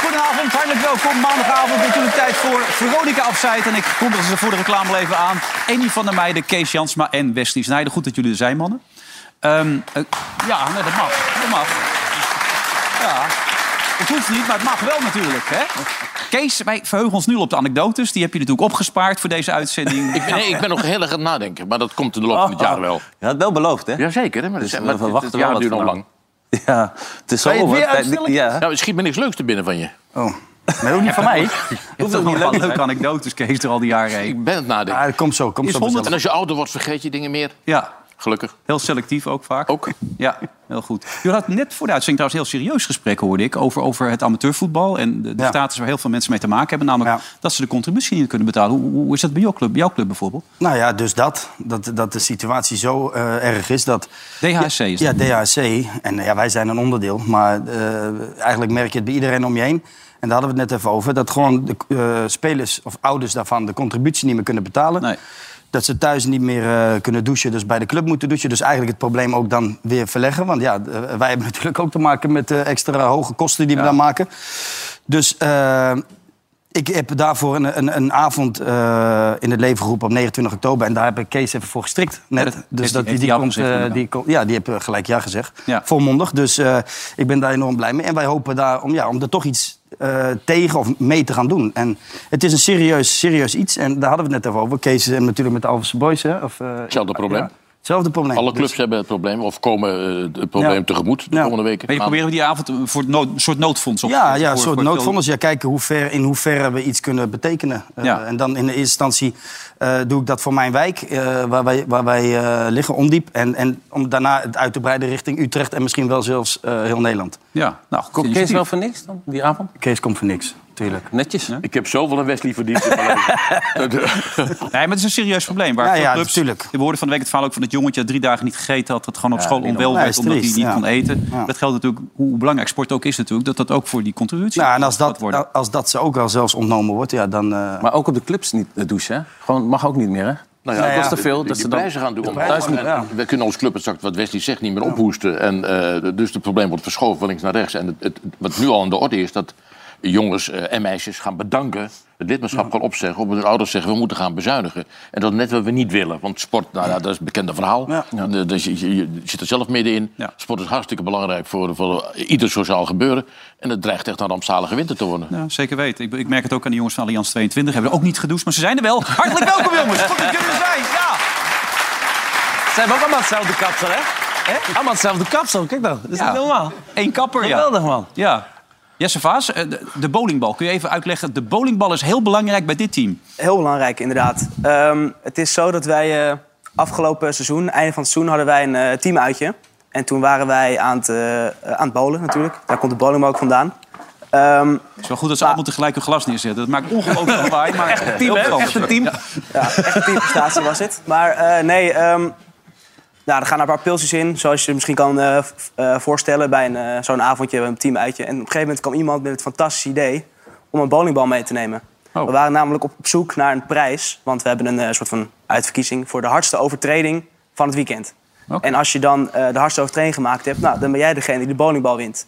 Goedenavond, hartelijk welkom. Maandagavond natuurlijk tijd voor Veronica Afzijd. En ik kondigde ze voor de reclame al even aan. Annie van der Meijden, Kees Jansma en Wesley Snijder. Goed dat jullie er zijn, mannen. Ehm, eh, ja, nee, dat mag. Dat mag. Ja. Het hoeft niet, maar het mag wel natuurlijk. Hè? Kees, wij verheugen ons nu op de anekdotes. Die heb je natuurlijk opgespaard voor deze uitzending. Ik ben, nee, ik ben nog heel erg aan het nadenken, maar dat komt in de loop van het jaar wel. Je had wel beloofd, hè? Jazeker, hè? Maar, Dus dat- we maar verwachten het wel jaar wat duurt nog van lang. Ja, het is zo je het Oh, over. weer uitstellen? Ja. Nou, het schiet me niks leuks te binnen van je. Oh. Maar ook niet van mij. Je hebt toch nog wat leuke anekdotes, Kees, er al die jaren heen. Ik ben het Nou, nadenken. Ah, komt zo, komt Is zo. 100 En als je ouder wordt, vergeet je dingen meer. Ja, Gelukkig. heel selectief ook vaak. Ook. Ja, heel goed. Je had net voor de uitzending trouwens een heel serieus gesprek, hoorde ik... over, over het amateurvoetbal en de, de Ja. status waar heel veel mensen mee te maken hebben. Namelijk Ja. dat ze de contributie niet kunnen betalen. Hoe, hoe is dat bij jouw club, jouw club bijvoorbeeld? Nou ja, dus dat. Dat, dat de situatie zo eh, erg is dat... DHSC is dat. Ja, DHC. En eh, ja, wij zijn een onderdeel. Maar eh, eigenlijk merk je het bij iedereen om je heen. En daar hadden we het net even over. Dat gewoon de eh, spelers of ouders daarvan de contributie niet meer kunnen betalen. Nee. Dat ze thuis niet meer eh, kunnen douchen, dus bij de club moeten douchen. Dus eigenlijk het probleem ook dan weer verleggen. Want ja, eh, wij hebben natuurlijk ook te maken met eh, extra hoge kosten die we dan maken. Dus eh, ik heb daarvoor een, een, een avond eh, in het leven geroepen op 29 oktober. En daar heb ik Kees even voor gestrikt. Ja, Net. dat heeft- dus dat, heeft die, die, hij komt, afgezegd, eh, inderdaad. die ko- ja, die heb eh, gelijk ja gezegd. Ja. Volmondig. Dus eh, ik ben daar enorm blij mee. En wij hopen daar om, ja, om er toch iets eh, tegen of mee te gaan doen. En het is een serieus, serieus iets. En daar hadden we het net even over. Kees eh, natuurlijk met de Alverse Boys. Hè? Of, eh, Hetzelfde probleem. ja. Hetzelfde probleem. Alle Dus- clubs hebben het probleem, of komen eh, het probleem Ja. tegemoet de Ja. komende weken. Weet je, Maanden. proberen we die avond een voor nood- een soort noodfonds op te Ja, zetten ja een voor- soort voor veel- noodfonds. Ja, kijken hoe ver, in hoeverre we iets kunnen betekenen. Eh, Ja. En dan in de eerste instantie eh, doe ik dat voor mijn wijk, eh, waar wij, waar wij eh, liggen, ondiep. En, en om daarna het uit te breiden richting Utrecht en misschien wel zelfs eh, heel Nederland. Ja, nou, goed Komt Kees initiatief. wel voor niks dan, die avond? Kees komt voor niks. Tuurlijk. Netjes. Ik heb zoveel aan Wesley verdiend. in mijn leven. Dat- Nee, maar het is een serieus probleem. Waar Ja, veel ja, clubs, natuurlijk. We hoorden van de week het verhaal ook van dat jongetje dat drie dagen niet gegeten had. Dat gewoon op school niet onwel normaal. werd Ja, is omdat hij niet triest, ja. kon eten. Ja. Dat geldt natuurlijk, hoe belangrijk sport ook is natuurlijk, dat dat ook voor die contributie Nou, en als gaat dat, als dat ze ook al zelfs ontnomen wordt, ja, dan... eh, Maar ook op de clubs niet eh, douchen, hè? Gewoon, mag ook niet meer, hè? Nou ja, kost ja. te veel. Dat die- die ze dan... prijzen gaan doen. omhoog. prijzen En- gaan, ja. en We kunnen ons club, het straks wat Wesley zegt, niet meer ophoesten. En, eh, dus het probleem wordt verschoven van links naar rechts. En het, het- wat nu al aan de orde is, dat jongens eh, en meisjes gaan bedanken... het lidmaatschap gaan opzeggen, op hun ouders zeggen... we moeten gaan bezuinigen. En dat is net wat we niet willen. Want sport, nou, ja, dat is het bekende verhaal. Ja. Eh, Dus je, je- je zit er zelf middenin. Ja. Sport is hartstikke belangrijk voor, voor ieder sociaal gebeuren. En het dreigt echt een rampzalige winter te worden. Ja, zeker weten. Ik, ik merk het ook aan de jongens van Allianz 22. Hebben er ook niet gedoucht, maar ze zijn er wel. Hartelijk welkom, jongens. Goed dat jullie er zijn. Ja. Ze hebben ook allemaal hetzelfde kapsel, hè? Hè? Allemaal hetzelfde kapsel, kijk dan. Dat is Ja. niet normaal. Eén kapper, ja. Geweldig, man. ja. Jesse Vaas, eh, de, de bowlingbal. Kun je even uitleggen? De bowlingbal is heel belangrijk bij dit team. Heel belangrijk, inderdaad. Ehm, het is zo dat wij eh, afgelopen seizoen, einde van het seizoen, hadden wij een eh, teamuitje. En toen waren wij aan het, eh, eh, aan het bowlen natuurlijk. Daar komt de bowling ook vandaan. Ehm, Het is wel goed dat ze allemaal tegelijk een glas neerzetten. Dat maakt ongelooflijk lawaai. Maar echt een team, Echt een team. ja, echt een teamprestatie was het. Maar eh, nee, ehm nou, er gaan een paar pilsjes in. Zoals je je misschien kan eh, v- eh, voorstellen bij een, eh, zo'n avondje, bij een teamuitje. En op een gegeven moment kwam iemand met het fantastische idee om een bowlingbal mee te nemen. Oh. We waren namelijk op, op zoek naar een prijs. Want we hebben een eh, soort van uitverkiezing voor de hardste overtreding van het weekend. Oké. En als je dan eh, de hardste overtreding gemaakt hebt, nou, dan ben jij degene die de bowlingbal wint.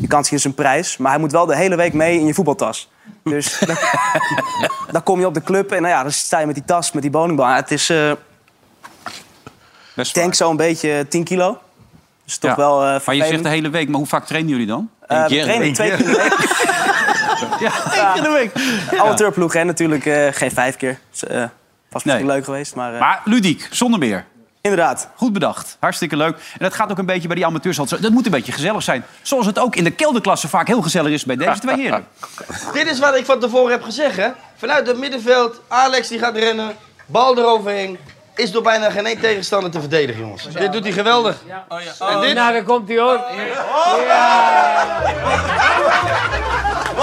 Je kans hier is een prijs, maar hij moet wel de hele week mee in je voetbaltas. Dus dan, dan kom je op de club en nou ja, dan sta je met die tas, met die bowlingbal. Ja, het is, eh, Best ik denk zo'n beetje 10 kilo. Dus toch Ja. wel eh Maar je vervelend. zegt de hele week, maar hoe vaak trainen jullie dan? Eh, keer in we de trainen week. twee keer in de week. Eén keer de week. Amateurploeg, hè, natuurlijk. eh, geen vijf keer. Dus, eh, was misschien Nee. leuk geweest, maar, eh, Maar ludiek, zonder meer. inderdaad. Goed bedacht. Hartstikke leuk. En dat gaat ook een beetje bij die amateurs. altijd zo. Dat moet een beetje gezellig zijn. Zoals het ook in de kelderklasse vaak heel gezellig is bij deze twee heren. Dit is wat ik van tevoren heb gezegd, hè. Vanuit het middenveld, Alex die gaat rennen, bal eroverheen. Is door bijna geen één tegenstander te verdedigen, jongens. Dit doet hij geweldig. En dit? Nou, daar komt hij hoor.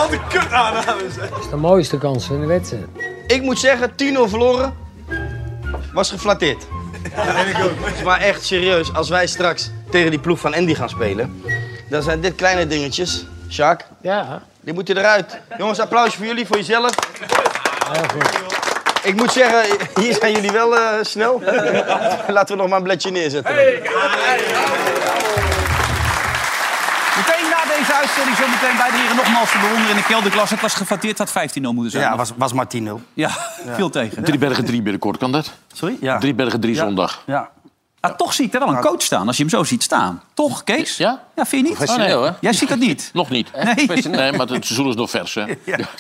Dat is de mooiste kans van de wedstrijd. Ik moet zeggen, 10-0 verloren was geflatteerd. Maar echt serieus, als wij straks tegen die ploeg van Andy gaan spelen... dan zijn dit kleine dingetjes, Sjaak. Ja. Die moeten eruit. Jongens, applausje voor jullie, voor jezelf. Ik moet zeggen, hier zijn jullie wel eh, snel. Laten we nog maar een bledje neerzetten. Meteen na deze uitzending zometeen. Beide heren nogmaals te bewonderen in de kelderklasse. Het was geflatteerd, had 15-0 moeten zijn. Ja, was, was maar 10-0. Ja, viel tegen. Drie bergen drie binnenkort, kan dat? Sorry? Ja. Drie bergen drie zondag. ja. Ah, toch zie ik er wel een coach staan, als je hem zo ziet staan. Toch, Kees? Ja? Ja, vind je niet? Oh, nee hoor. Jij ziet dat niet. Nog niet. Nee. nee, maar het seizoen is nog vers. Hè?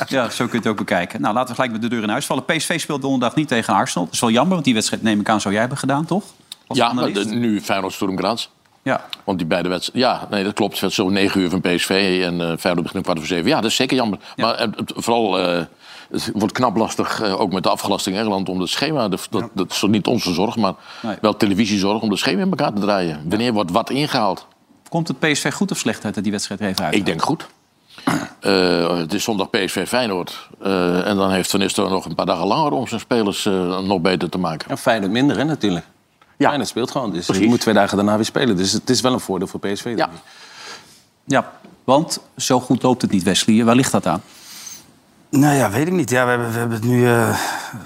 Ja, zo kun je het ook bekijken. Nou, laten we gelijk met de deur in huis vallen. PSV speelt donderdag niet tegen Arsenal. Dat is wel jammer, want die wedstrijd neem ik aan zou jij hebben gedaan, toch? Als Ja, maar analist. de- nu Feyenoord Sturm Graz. Ja. Want die beide wedstrijden... Ja, nee, dat klopt. Het is zo negen uur van PSV en eh Feyenoord begint om kwart voor zeven. Ja, dat is zeker jammer. Maar eh, het- vooral... eh, het wordt knap lastig, eh, ook met de afgelasting in Engeland, om het schema... de- dat, dat is niet onze zorg, maar Nee. wel televisiezorg... om het schema in elkaar te draaien. Wanneer wordt wat ingehaald? Komt het PSV goed of slecht uit dat die wedstrijd er even uit? Ik denk goed. Eh, het is zondag PSV Feyenoord. Eh, en dan heeft Van Nistelrooy nog een paar dagen langer... om zijn spelers eh, nog beter te maken. En Feyenoord minder, hè, natuurlijk. Ja. Feyenoord speelt gewoon, dus je moet twee dagen daarna weer spelen. Dus het is wel een voordeel voor PSV. denk Ja. ik. Ja, want zo goed loopt het niet, Wesley. Waar ligt dat aan? Nou ja, weet ik niet. Ja, we, hebben, we hebben het nu eh,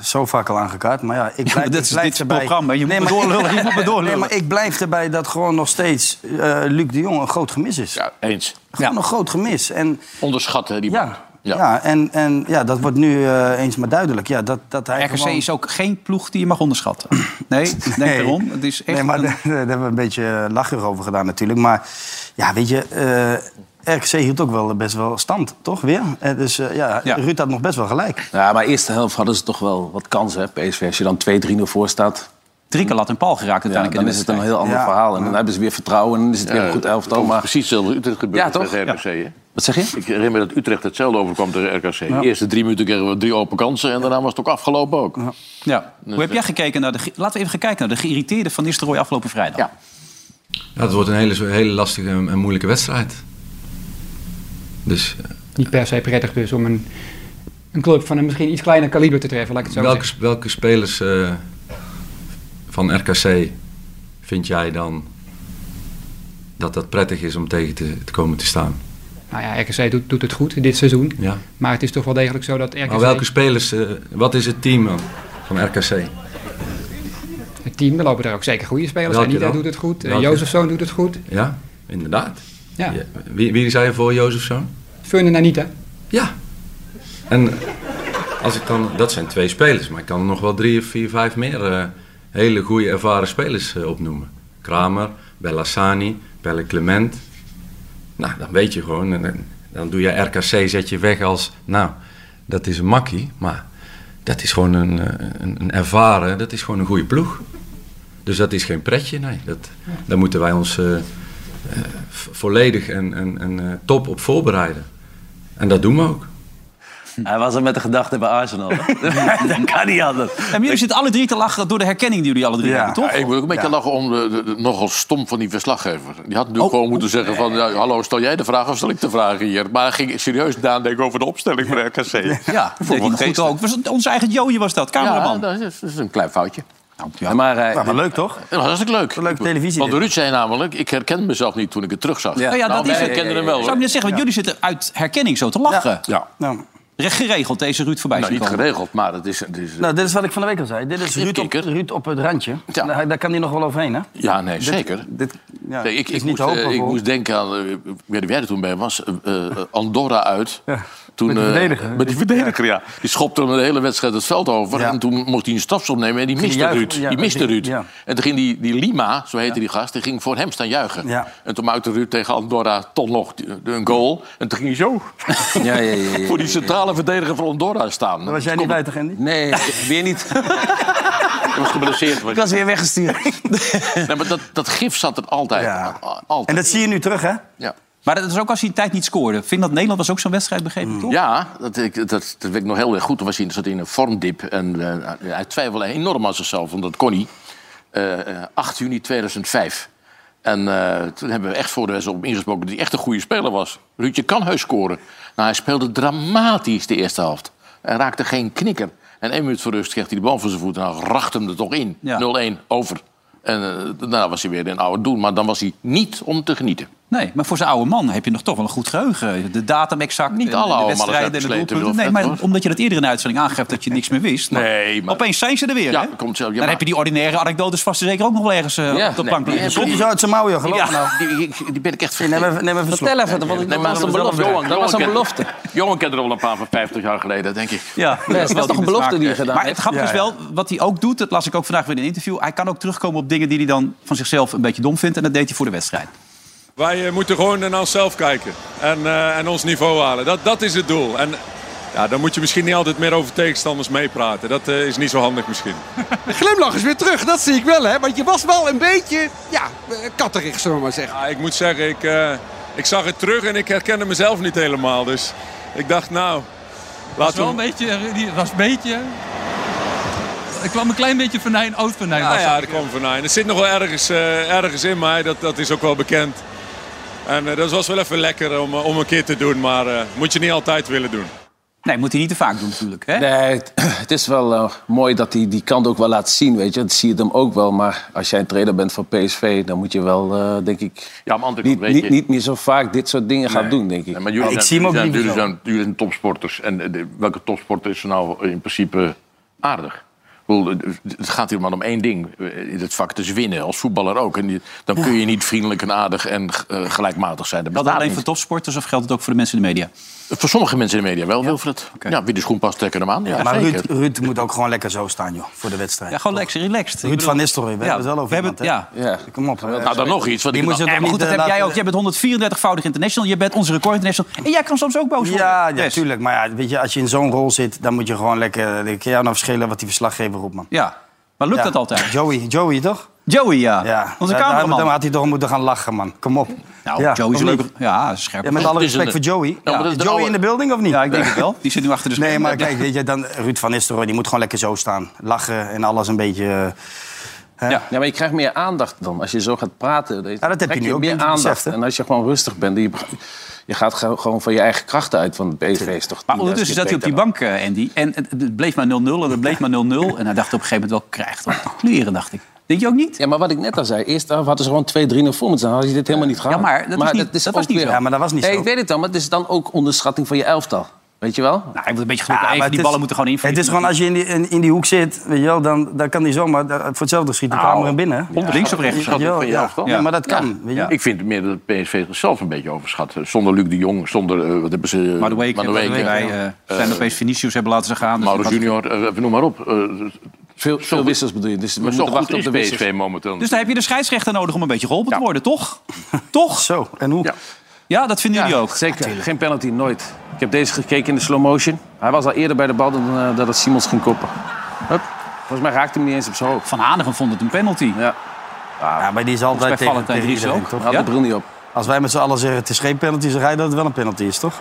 zo vaak al aangekaart. Maar ja, ik blijf, maar dit ik is blijf dit programma. Je moet me maar ik- doorlullen, je moet me Nee, doorlullen. maar ik blijf erbij dat gewoon nog steeds eh, Luc de Jong een groot gemis is. Ja, eens. Gewoon Ja. een groot gemis. En Onderschat, hè, die man. ja, ja. en, en ja, dat wordt nu eh, eens maar duidelijk. Ja, dat, dat hij RKC gewoon... is ook geen ploeg die je mag onderschatten. Nee, denk erom. Het is echt nee, maar een- daar, daar hebben we een beetje lacherig over gedaan natuurlijk. Maar ja, weet je, eh, RKC hield ook wel best wel stand, toch weer? Eh, dus eh, ja, Ja. Ruud had nog best wel gelijk. Ja, maar eerste helft hadden ze toch wel wat kansen, hè, PSV. Als je dan 2-3-0 voor staat, drie keer lat en paal geraakt ja, uiteindelijk dan in is de het een wedstrijd. heel ander Ja. verhaal. En dan hebben ze weer vertrouwen en dan is het weer een goed elftal. Over Maar... Precies hetzelfde Utrecht gebeurde Ja, toch? tegen RKC. hè? Wat zeg je? Ik herinner me dat Utrecht hetzelfde overkwam tegen RKC. De eerste drie minuten kregen we drie open kansen... en daarna was het ook afgelopen ook. Ja. Hoe heb jij gekeken naar de... ge- Laten we even gaan kijken naar de geïrriteerde Van Nistelrooy afgelopen vrijdag. Ja. Ja, het wordt een hele, hele lastige en moeilijke wedstrijd. Dus eh, niet per se prettig dus om een, een club van een misschien iets kleiner kaliber te treffen, laat ik het zo welke, zeggen. welke spelers eh, van RKC vind jij dan dat dat prettig is om tegen te, te komen te staan? Nou ja, RKC doet, doet het goed dit seizoen. Ja. Maar het is toch wel degelijk zo dat RKC, Maar welke spelers, eh, wat is het team dan van RKC? het team, er lopen daar ook zeker goede spelers. Welke Anita dan? doet het goed, uh, Welke? Jozefzoon doet het goed. Ja, inderdaad. Ja, Ja, Wie, wie zei je voor, Jozefzoon? Fun en Anita. Ja. En als ik dan, dat zijn twee spelers, maar ik kan er nog wel drie of vier, vijf meer eh, hele goede ervaren spelers eh, opnoemen. Kramer, Bellassani, Pelle Clement. Nou, dan weet je gewoon, en, dan- dan doe je RKC, zet je weg als, nou, dat is een makkie, maar dat is gewoon een, eh, een, een ervaren, dat is gewoon een goede ploeg. Dus dat is geen pretje, nee. Dat, daar moeten wij ons eh, eh, v- volledig en, en, en eh, top op voorbereiden. En dat doen we ook. Hij was er met de gedachte bij Arsenal. dat kan niet anders. En jullie zitten alle drie te lachen door de herkenning die jullie alle drie Ja. hebben, toch? Ja, ik moet ook een beetje lachen om de, de- de- nogal stom van die verslaggever. Die had natuurlijk gewoon moeten zeggen van... ja, hallo, stel jij de vraag of stel ik de vraag hier? Maar hij ging serieus nadenken over de opstelling van RKC. Ja, dat deed wel hij goed geestig. ook. Was het onze eigen Joje was dat, Ja, cameraman. dat is, dat is een klein foutje. Nou, ja. Ja, Maar, eh, Nou, maar leuk toch? Ja, hartstikke leuk. Leuke televisie Want dit. Ruud zei namelijk... ik herken mezelf niet toen ik het terugzag. Ja. Oh ja, dat Nou, wij is het. herkenden hem wel, Zou ik hoor. net zeggen, want jullie zitten uit herkenning zo te lachen. Ja. Nou, Recht geregeld deze Ruud voorbij Nou, zien niet komen. geregeld, maar het is... Het is nou, dit is wat ik van de week al zei. Dit is Een Ruud op, kikker. Ruud op het randje. Ja. Daar, daar kan hij nog wel overheen, hè? ja, nee, zeker. Dit, ja, Nee, ik, is niet ik, moest, te hopen eh, ik voor- moest denken aan, eh, ik weet niet wie er toen bij was, eh, eh, Andorra uit. Ja, toen, met die eh, verdediger. met die verdediger, ja. Die schopte hem de hele wedstrijd het veld over. Ja. En toen mocht hij een strafschop nemen en die miste juichen, Ruud. ja, die miste die- Ruud. ja. En toen ging die, die Lima, zo heette die gast, die ging voor hem staan juichen. Ja. En toen maakte Ruud tegen Andorra toch nog die- een goal. En toen ging hij zo ja, ja, ja, ja. voor die centrale verdediger van Andorra staan. Dus Was jij niet bij, toch, Andy? Nee, weer niet. Hij was geblesseerd. Ik was weer weggestuurd. Nee, maar dat, dat gif zat er altijd. Ja. Al- Altijd. En dat zie je nu terug, hè? ja. Maar dat is ook als hij een tijd niet scoorde. Finland Nederland was ook zo'n wedstrijd begrepen, toch? Ja, dat, ik, dat, dat weet ik nog heel erg goed. Toen was hij zat in een vormdip en eh, hij twijfelde enorm aan zichzelf, want dat kon hij. Eh, eh, 8 juni 2005. En eh, toen hebben we echt voor de wedstrijd op hem ingesproken dat hij echt een goede speler was. Ruudje kan heus scoren. Nou, hij speelde dramatisch de eerste helft. Hij raakte geen knikker. En één minuut voor rust kreeg hij de bal voor zijn voet en hij racht hem er toch in. Ja. 0-1, over. En eh, daarna was hij weer in oude doen, maar dan was hij niet om te genieten. Nee, maar voor zijn oude man heb je nog toch wel een goed geheugen. De datum exact. Niet en alle de oude mannen zijn wedstrijden en de versleten, doelpunten. Nee, Wilfred, maar hoor. omdat je dat eerder in de uitzending aangeeft dat je niks meer wist. Maar Nee, maar- Opeens zijn ze er weer. Ja, hè? komt zo. Ja, dan maar- heb je die ordinaire anekdotes vast en zeker ook nog wel ergens eh, Ja, op de nee, plank liggen. die heb je Toch? Komt je zo uit zijn mouw, joh, geloof Ja. me nou. Die, die- die ben ik echt Neem vergeten. even, neem even een slok. Vertel even, want Nee, dat maar was een dat belofte. Johan, Johan, dat was een Johan kent- belofte. Johan kent er al een paar van 50 jaar geleden, denk ik. Ja, Nee, het was wel toch een die belofte met die je smaak. gedaan Maar het hebt? grappige Ja, is wel, wat hij ook doet, dat las ik ook vandaag weer in een interview. Hij kan ook terugkomen op dingen die hij dan van zichzelf een beetje dom vindt. En dat deed hij voor de wedstrijd. Wij eh, moeten gewoon naar onszelf kijken en, eh, en ons niveau halen. Dat, dat is het doel. En ja, dan moet je misschien niet altijd meer over tegenstanders meepraten. Dat eh, is niet zo handig misschien. De glimlach is weer terug, dat zie ik wel, hè? Want je was wel een beetje, ja, eh, katterig, zullen we maar zeggen. Ja, ik moet zeggen, ik, eh, ik zag het terug en ik herkende mezelf niet helemaal. Dus ik dacht, nou, laten we... beetje, die was een beetje. Ik kwam een klein beetje venijn, oud venijn. Ja, Nou ja, er kwam van Het zit nog wel ergens, eh, ergens in mij, dat, dat is ook wel bekend. En eh, dat was wel even lekker om, eh, om een keer te doen, maar eh, moet je niet altijd willen doen. Nee, moet hij niet te vaak doen natuurlijk. Hè? Nee, het, het is wel eh, mooi dat hij die kant ook wel laat zien, weet je. Dat zie je hem ook wel. Maar als jij een trainer bent van PSV, dan moet je wel, eh, denk ik... Ja, maar Anton, niet, weet niet, je- niet meer zo vaak dit soort dingen gaan doen, denk ik. Nee, maar jullie, Ik zijn, zie hem ook jullie, niet zijn, jullie, zo. zijn, jullie zijn topsporters. En eh, de- welke topsporter is er nou in principe aardig? Ik bedoel, eh, Het gaat hier maar om één ding. eh, In het vak te winnen, als voetballer ook. En die- dan kun je niet vriendelijk en aardig en eh, gelijkmatig zijn. Geldt dat Dat bestaat alleen niet. voor topsporters of geldt het ook voor de mensen in de media? Voor sommige mensen in de media wel, Wilfred. Ja, wie de schoen past, trekken hem aan. Ja, Maar zeker. Ruud, Ruud moet ook gewoon lekker zo staan, joh, voor de wedstrijd. Ja, gewoon lekker relaxed. Ik Ruud bedoel- van Nistelrooy, we hebben het wel over we hebben, iemand, hè? ja. Ja. Kom op. hè. nou, dan nog iets. Wat eh, Die moet ik dan- je Ja, maar goed, dat niet, heb eh, jij ook. laten- Jij bent 134-voudig international. Je bent onze record international. En jij kan soms ook boos worden. Ja, ja, Best. tuurlijk. Maar ja, weet je, als je in zo'n rol zit, dan moet je gewoon lekker... Ik kan jou nou verschillen wat die verslaggever roept, man. Ja. Maar lukt Ja. dat altijd? Joey, Joey toch? Joey, ja. Ja. Onze Ja, cameraman. Dan had hij toch moeten gaan lachen, man. Kom op. nou, Ja, Joey is of een niet? leuke... Ja, scherp. Ja, met alle Het is respect een- voor Joey. maar dat Ja. is Is de Joey oude- in de building of niet? Ja, ik denk het wel. Die zit nu achter de Nee, schermen. maar kijk, weet je, dan, Ruud van Nistelrooy die moet gewoon lekker zo staan. Lachen en alles een beetje... eh, Ja, maar je krijgt meer aandacht dan. Als je zo gaat praten, dan dat heb je krijg nu ook, meer denk ik, aandacht. beseft, hè? en als je gewoon rustig bent, je, je gaat ge- gewoon van je eigen krachten uit. Want PSV is toch Maar ondertussen zat hij op die bank, eh, Andy. En het- het bleef maar 0-0 en het bleef maar 0-0. En hij dacht op een gegeven moment wel, krijgt op de kleren, dacht ik. Denk je ook niet? Ja, maar wat ik net al zei, eerst hadden ze gewoon 2-3-0 voor moeten staan. Hadden je dit helemaal niet gehad. Ja, maar dat is niet- dat was ook niet zo. Ja, maar dat was niet nee, zo. Ik weet het dan, maar het is dan ook onderschatting van je elftal. Weet je wel? Nou, hij moet een beetje gelukkig. maar Even, die het ballen is- moeten gewoon invliegen. Het is gewoon, als je in die, in, in die hoek zit, weet je wel, dan, dan kan die zomaar... dat- Voor hetzelfde schiet de Nou. kamer in binnen. hè? Links of rechts? Schat, Ja, van je ja. elftal. Ja, maar dat kan. Weet je? Ik vind meer dat PSV zichzelf een beetje overschat. Zonder Luc de Jong, zonder... eh, wat hebben ze? eh, Maar de week, Madueke, wij eh, eh, zijn opeens Vinicius hebben laten ze gaan. Dus Mauro wat- Junior, eh, noem maar op. Eh, Veel, veel wissels bedoel je. Dus we maar moeten zo goed wachten op is de wissels. PSV momenteel. Dus daar heb je de scheidsrechter nodig om een beetje geholpen te worden, toch? toch? Zo, en hoe? Ja. Ja, dat vinden jullie ook. Zeker, geen penalty, nooit. Ik heb deze gekeken in de slow motion. Hij was al eerder bij de bal dan eh, dat het Simons ging koppen. Hup. Volgens mij raakte hij hem niet eens op zijn hoofd. Van Hanegem vond het een penalty. Ja, Ja, maar die is bij altijd tegen, Valentijn tegen Dries iedereen, ook. toch? hij had Ja? de bril niet op. Als wij met z'n allen zeggen, het is geen penalty, dan rijden dat het wel een penalty is, toch?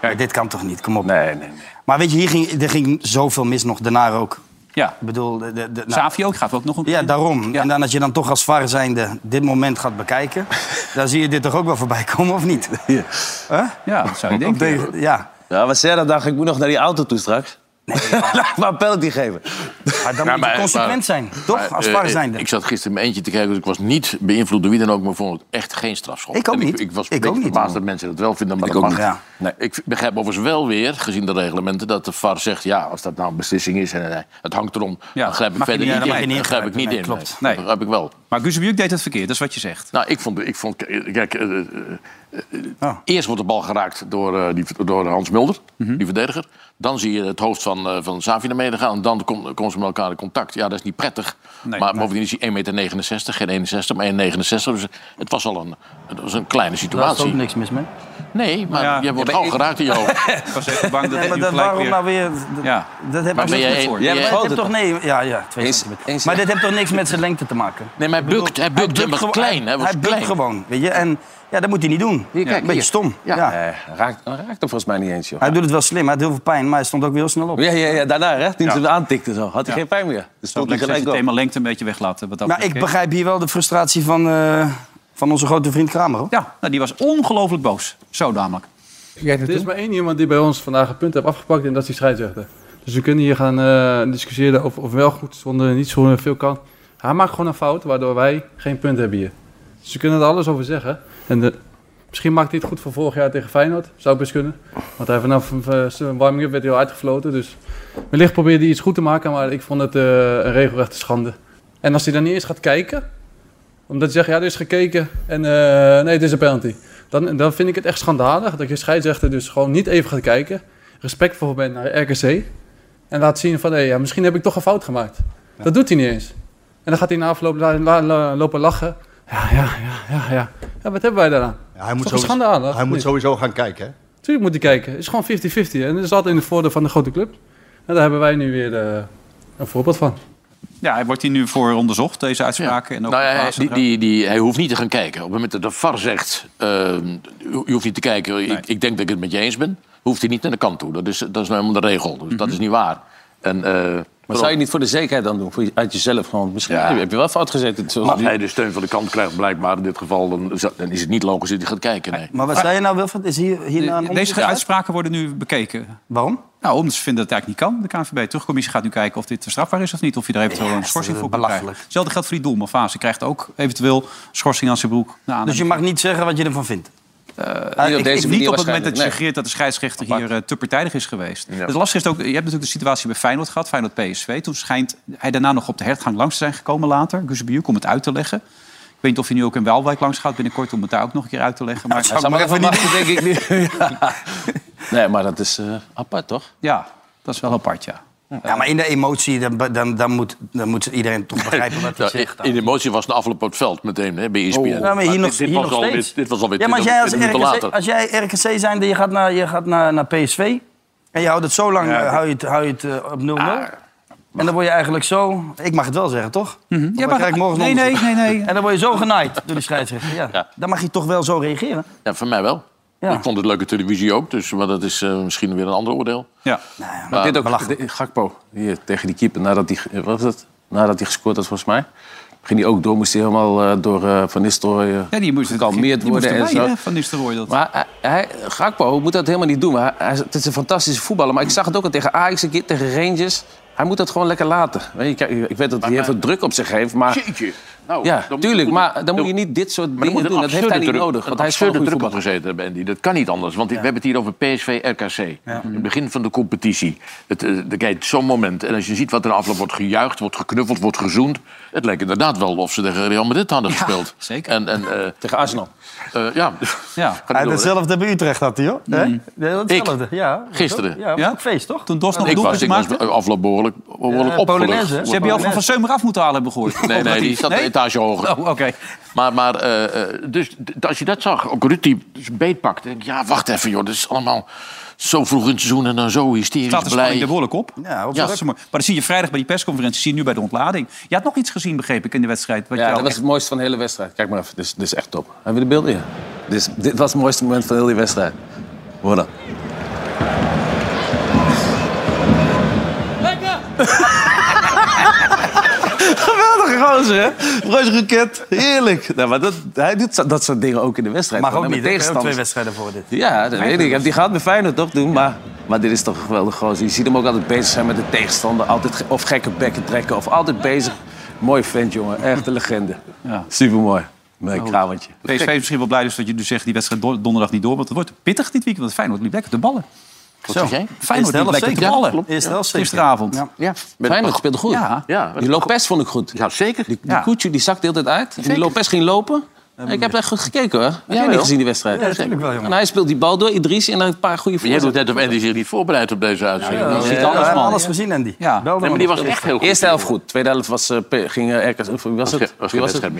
Maar Dit kan toch niet, kom op. Nee, nee, nee. Maar weet je, hier ging, er ging zoveel mis nog, daarna ook. Ja. Ik bedoel, de, de, de- nou, Savio ook gaat ook nog een ja, daarom. Ja. En dan als je dan toch als VAR zijnde dit moment gaat bekijken... dan zie je dit toch ook wel voorbij komen, of niet? Ja, dat zou ik denken. Tegen- ja. Ja, maar Serra dacht, ik moet nog naar die auto toe straks. Laat maar een penalty geven. Maar dan Ja, moet je Nou, maar- consequent maar- zijn, toch? Maar, als eh, VAR eh, zijnde. Ik zat gisteren in mijn eentje te kijken, dus ik was niet beïnvloed door wie dan ook, maar vond het echt geen strafschop. Ik ook En niet. Ik, was Ik een beetje ook niet, verbaasd man. dat mensen dat wel vinden, maar Ik dat ook mag. niet, ja. Nee. Ik begrijp overigens wel weer, gezien de reglementen, dat de VAR zegt, ja, als dat nou een beslissing is en eh, het hangt erom, Ja, dan grijp ik mag je verder niet- niet, ja, dan mag je in. niet Dan grijp ik ingrijpen. niet Nee, in. klopt. Nee. Nee. Dat begrijp ik wel. Maar Guzebuk deed het verkeerd, dat is wat je zegt. Nou, ik vond, ik vond kijk, eh, eh, eh, Ah. eerst wordt de bal geraakt door, eh, die, door Hans Mulder, Mhm. die verdediger. Dan zie je het hoofd van, eh van Savi naar beneden gaan. En dan kom- komen ze met elkaar in contact. Ja, dat is niet prettig. Nee, maar bovendien is hij 1,69 meter, geen 61, maar 1,69. Dus het was al een, het was een kleine Daar is situatie. ook niks mis mee. Nee, maar Ja. je wordt Ja, maar gauw geraakt in je hoofd. Ik was even bang dat Ja, ik maar nu dan gelijk waarom weer... nou weer... Ja. Dat heb Maar ben niks jij met- een- Ja, jij- maar groter dat heeft toch dan? nee, ja, ja, twee Eens- centimeter. eens- maar dit heeft toch niks met zijn lengte te maken? Nee, maar hij bukt, hij bukt, hij was gewoon- klein. Hij was hij bukt klein. gewoon, weet je. En ja, dat moet hij niet doen. Hier, kijk, een beetje hier. stom. Ja. Ja. Nee, hij raakt, hij raakt hem volgens mij niet eens, joh. Hij doet het wel slim, hij had heel veel pijn, maar hij stond ook weer heel snel op. Ja, ja, ja, daarna, hè? Toen ze hem aantikte, zo. had hij Ja. geen pijn meer. Dus Zo stond hij lekker gelijk het op. thema lengte een beetje weglaten. Wat dat Maar ik betreft. begrijp hier wel de frustratie van, eh, van onze grote vriend Kramer. hoor. Ja, nou, die was ongelooflijk boos. Zo namelijk. Er is maar één iemand die bij ons vandaag een punt heeft afgepakt en dat is die scheidsrechter. Dus we kunnen hier gaan eh, discussiëren of, of wel goed zonder niet zo veel kan. Hij maakt gewoon een fout waardoor wij geen punt hebben hier. Dus we kunnen er alles over zeggen. En eh, misschien maakt hij het goed voor vorig jaar tegen Feyenoord. Zou best kunnen. Want hij vanaf eh, zijn warming-up werd hij al uitgefloten. Dus wellicht probeerde hij iets goed te maken, maar ik vond het eh, een regelrechte schande. En als hij dan niet eens gaat kijken, omdat hij zegt, ja, er is gekeken en eh, nee, het is een penalty. Dan, dan vind ik het echt schandalig dat je scheidsrechter dus gewoon niet even gaat kijken. Respectvol bent naar RKC. En laat zien van, hé, ja, misschien heb ik toch een fout gemaakt. Dat doet hij niet eens. En dan gaat hij na afloop la- la- la- lopen lachen. Ja, ja, ja, ja, ja. Ja, wat hebben wij daaraan? Ja, hij moet, toch een sowieso, schandalig? hij moet Nee. sowieso gaan kijken. Hè? Tuurlijk moet hij kijken. Het is gewoon 50-50. En dat is altijd in het voordeel van de grote club. En daar hebben wij nu weer eh, een voorbeeld van. Ja, hij wordt hier nu voor onderzocht, deze uitspraken. En ook Nou ja, hij, Pasen die, trouwens. die, die, hij hoeft niet te gaan kijken. Op het moment dat de VAR zegt, eh, je je hoeft niet te kijken, ik, ik denk dat ik het met je eens ben... hoeft hij niet naar de kant toe. Dat is, dat is nou helemaal de regel. Dus dat is niet waar. En, eh, Maar zou je niet voor de zekerheid dan doen? Voor je- uit jezelf gewoon. Misschien Ja. heb je wel fout dus gezeten. Zoals als nu. hij de steun van de kant krijgt, blijkbaar in dit geval... dan, is dat- dan is het niet logisch dat hij gaat kijken. Nee. Maar wat Ah. zei je nou, Wilfred? Is hier, hierna een onderzoek Deze uit? uitspraken worden nu bekeken. Waarom? Nou, omdat ze vinden dat het eigenlijk niet kan. De KNVB terugcommissie gaat nu kijken of dit strafbaar is of niet. Of je daar eventueel een schorsing voor kan krijgen. Hetzelfde geldt voor die doelman Fase. krijgt ook eventueel schorsing aan zijn broek. Dus je mag niet zeggen wat je ervan vindt? niet op, Eh, deze manier niet op het moment dat je waarschijnlijk, suggereert dat de scheidsrechter hier eh, te partijdig is geweest. Het lastige is ook, je hebt natuurlijk de situatie bij Feyenoord gehad, Feyenoord PSV. Toen schijnt hij daarna nog op de hertgang langs te zijn gekomen later, Guzebujuk, om het uit te leggen. Ik weet niet of hij nu ook in Waalwijk langs gaat binnenkort om het daar ook nog een keer uit te leggen. Maar Hij zou maar even wachten, denk ik nu. Ja. Nee, maar dat is eh, apart, toch? Ja, dat is wel apart, ja. Ja, maar in de emotie, dan, dan, dan, moet, dan moet iedereen toch begrijpen wat hij Nou, zegt. in de emotie was de afloop op het veld meteen hè, bij E ESPN. Oh. Ja, maar hier nog, dit, dit hier was nog alweer- steeds. dit was alweer ja, maar als 20 jij als minuten RKC, later. als jij RKC zijnde, je gaat naar, je gaat naar, naar PSV... en je houdt het zo lang, eh, Ja, dit- Ah. hou je het, hou je het eh, op 0-0... en dan word je eigenlijk zo... Ik mag het wel zeggen, toch? Want dan mag- krijg ik morgen een Mhm. nee, onderzoek. nee, nee, nee. En dan word je zo genaaid door die scheidsrechter. Ja. Dan mag je toch wel zo reageren. Ja, voor mij wel. Ja. Ik vond het leuke televisie ook, dus, maar dat is eh, misschien weer een ander oordeel. Ja. Maar dit ook, de- Gakpo, hier, tegen die keeper, nadat hij wat was het? Nadat hij gescoord had volgens mij... ging hij ook door, moest hij helemaal eh, door eh, Van Nistelrooy eh, Ja, die moest gekalmeerd die moest worden en erbij, zo. hè, van Nistelrooy dat. Maar hij- hij, Gakpo moet dat helemaal niet doen. Hij, hij- het is een fantastische voetballer. Maar ik zag het ook al tegen Ajax, een keer tegen Rangers. Hij moet dat gewoon lekker laten. Weet je, kijk, ik weet dat hij heel veel druk op zich heeft. Maar, Jeetje. Nou, ja, dan- tuurlijk. Maar dan moet je niet dit soort Maar er dingen moet een doen. Dat heeft absurde hij niet druk- nodig. een Want hij is gewoon een absurde goede druk op voetballer. gezeten hebben, Andy. Dat kan niet anders. Want we hebben het hier over PSV-RKC. In het begin van de competitie. Het, eh, er kijkt zo'n moment. En als je ziet wat er afloop wordt gejuicht, wordt geknuffeld, wordt gezoend. Het leek inderdaad wel of ze tegen Real Madrid hadden gespeeld. Zeker. En, en, eh, tegen Arsenal. ja. ja. Ga niet door, hè. hetzelfde bij Utrecht had hij, hoor. Hè? Mm. Ja, Hetzelfde. Ik? Ja, Gisteren. Ja, was Mhm. Ja? ook feest, toch? Toen Dos nog Ik een was, doelpunt ik was maakte? afloop behoorlijk, behoorlijk Ja, opgelucht. Polonaise, hè? Ze hebben jou van Van Seumer af moeten halen, hebben we gehoord. Nee, nee, die zat een etage hoger. Oh, oké. Maar, maar eh, eh, dus, d- als je dat zag, ook Rutte dus beetpakt. denk ik, Ja, wacht even, joh. Dat is allemaal zo vroeg in het seizoen en dan zo hysterisch Staat de blij. spanning er behoorlijk op. Ja, Ja. maar. maar dat zie je vrijdag bij die persconferentie, zie je nu bij de ontlading. Je had nog iets gezien, begreep ik, in de wedstrijd. Wat Ja, jou dat was echt- het mooiste van de hele wedstrijd. Kijk maar even, dit is, dit is echt top. Hebben we de beelden hier? Dit, is- dit was het mooiste moment van de hele wedstrijd. Hoor dan. Geweldige gozer, hè? Roos Ruket, heerlijk. Nou, maar dat, hij doet zo- dat soort dingen ook in de wedstrijd. Mag ook Gewoon niet, met hè? We hebben twee wedstrijden tegenstanders. voor dit. Ja, dat weet ik. Ik heb die gehad bij Feyenoord toch doen, maar, maar dit is toch een geweldig gozer. Je ziet hem ook altijd bezig zijn met de tegenstander. Altijd ge- of gekke bekken trekken of altijd bezig. Mooi vent, jongen. Echt een legende. Ja. Supermooi. Mijn krawantje. PSV is misschien wel blij dus dat je nu zegt die wedstrijd don- donderdag niet door. Want het wordt pittig dit weekend. Want Feyenoord liep lekker te ballen. Wat Zo. zeg jij? Feyenoord liep lekker te ballen. Gisteravond. Ja. Ja. Feyenoord speelde goed. Ja. Die Lopez vond ik goed. Ja, zeker. Die, die Ja. Koetje die zakte de hele tijd uit. En die Lopez ging lopen. ik heb daar goed gekeken hoor. Heb jij Jawel. niet gezien die wedstrijd? Ja, natuurlijk wel, jongen. En hij speelt die bal door, Idrissi en dan een paar goede Maar jij doet voorzetten. net of Andy zich niet voorbereidt op deze uitzending. Ja, Dat is ja, niet ja, anders, ja, man. alles Eh, gezien, Andy. Ja. Nee, maar die was echt heel goed. Eerste helft goed. Tweede helft was, eh, P- ging eh, RKC... of Wie was het? was Wie geen was wedstrijd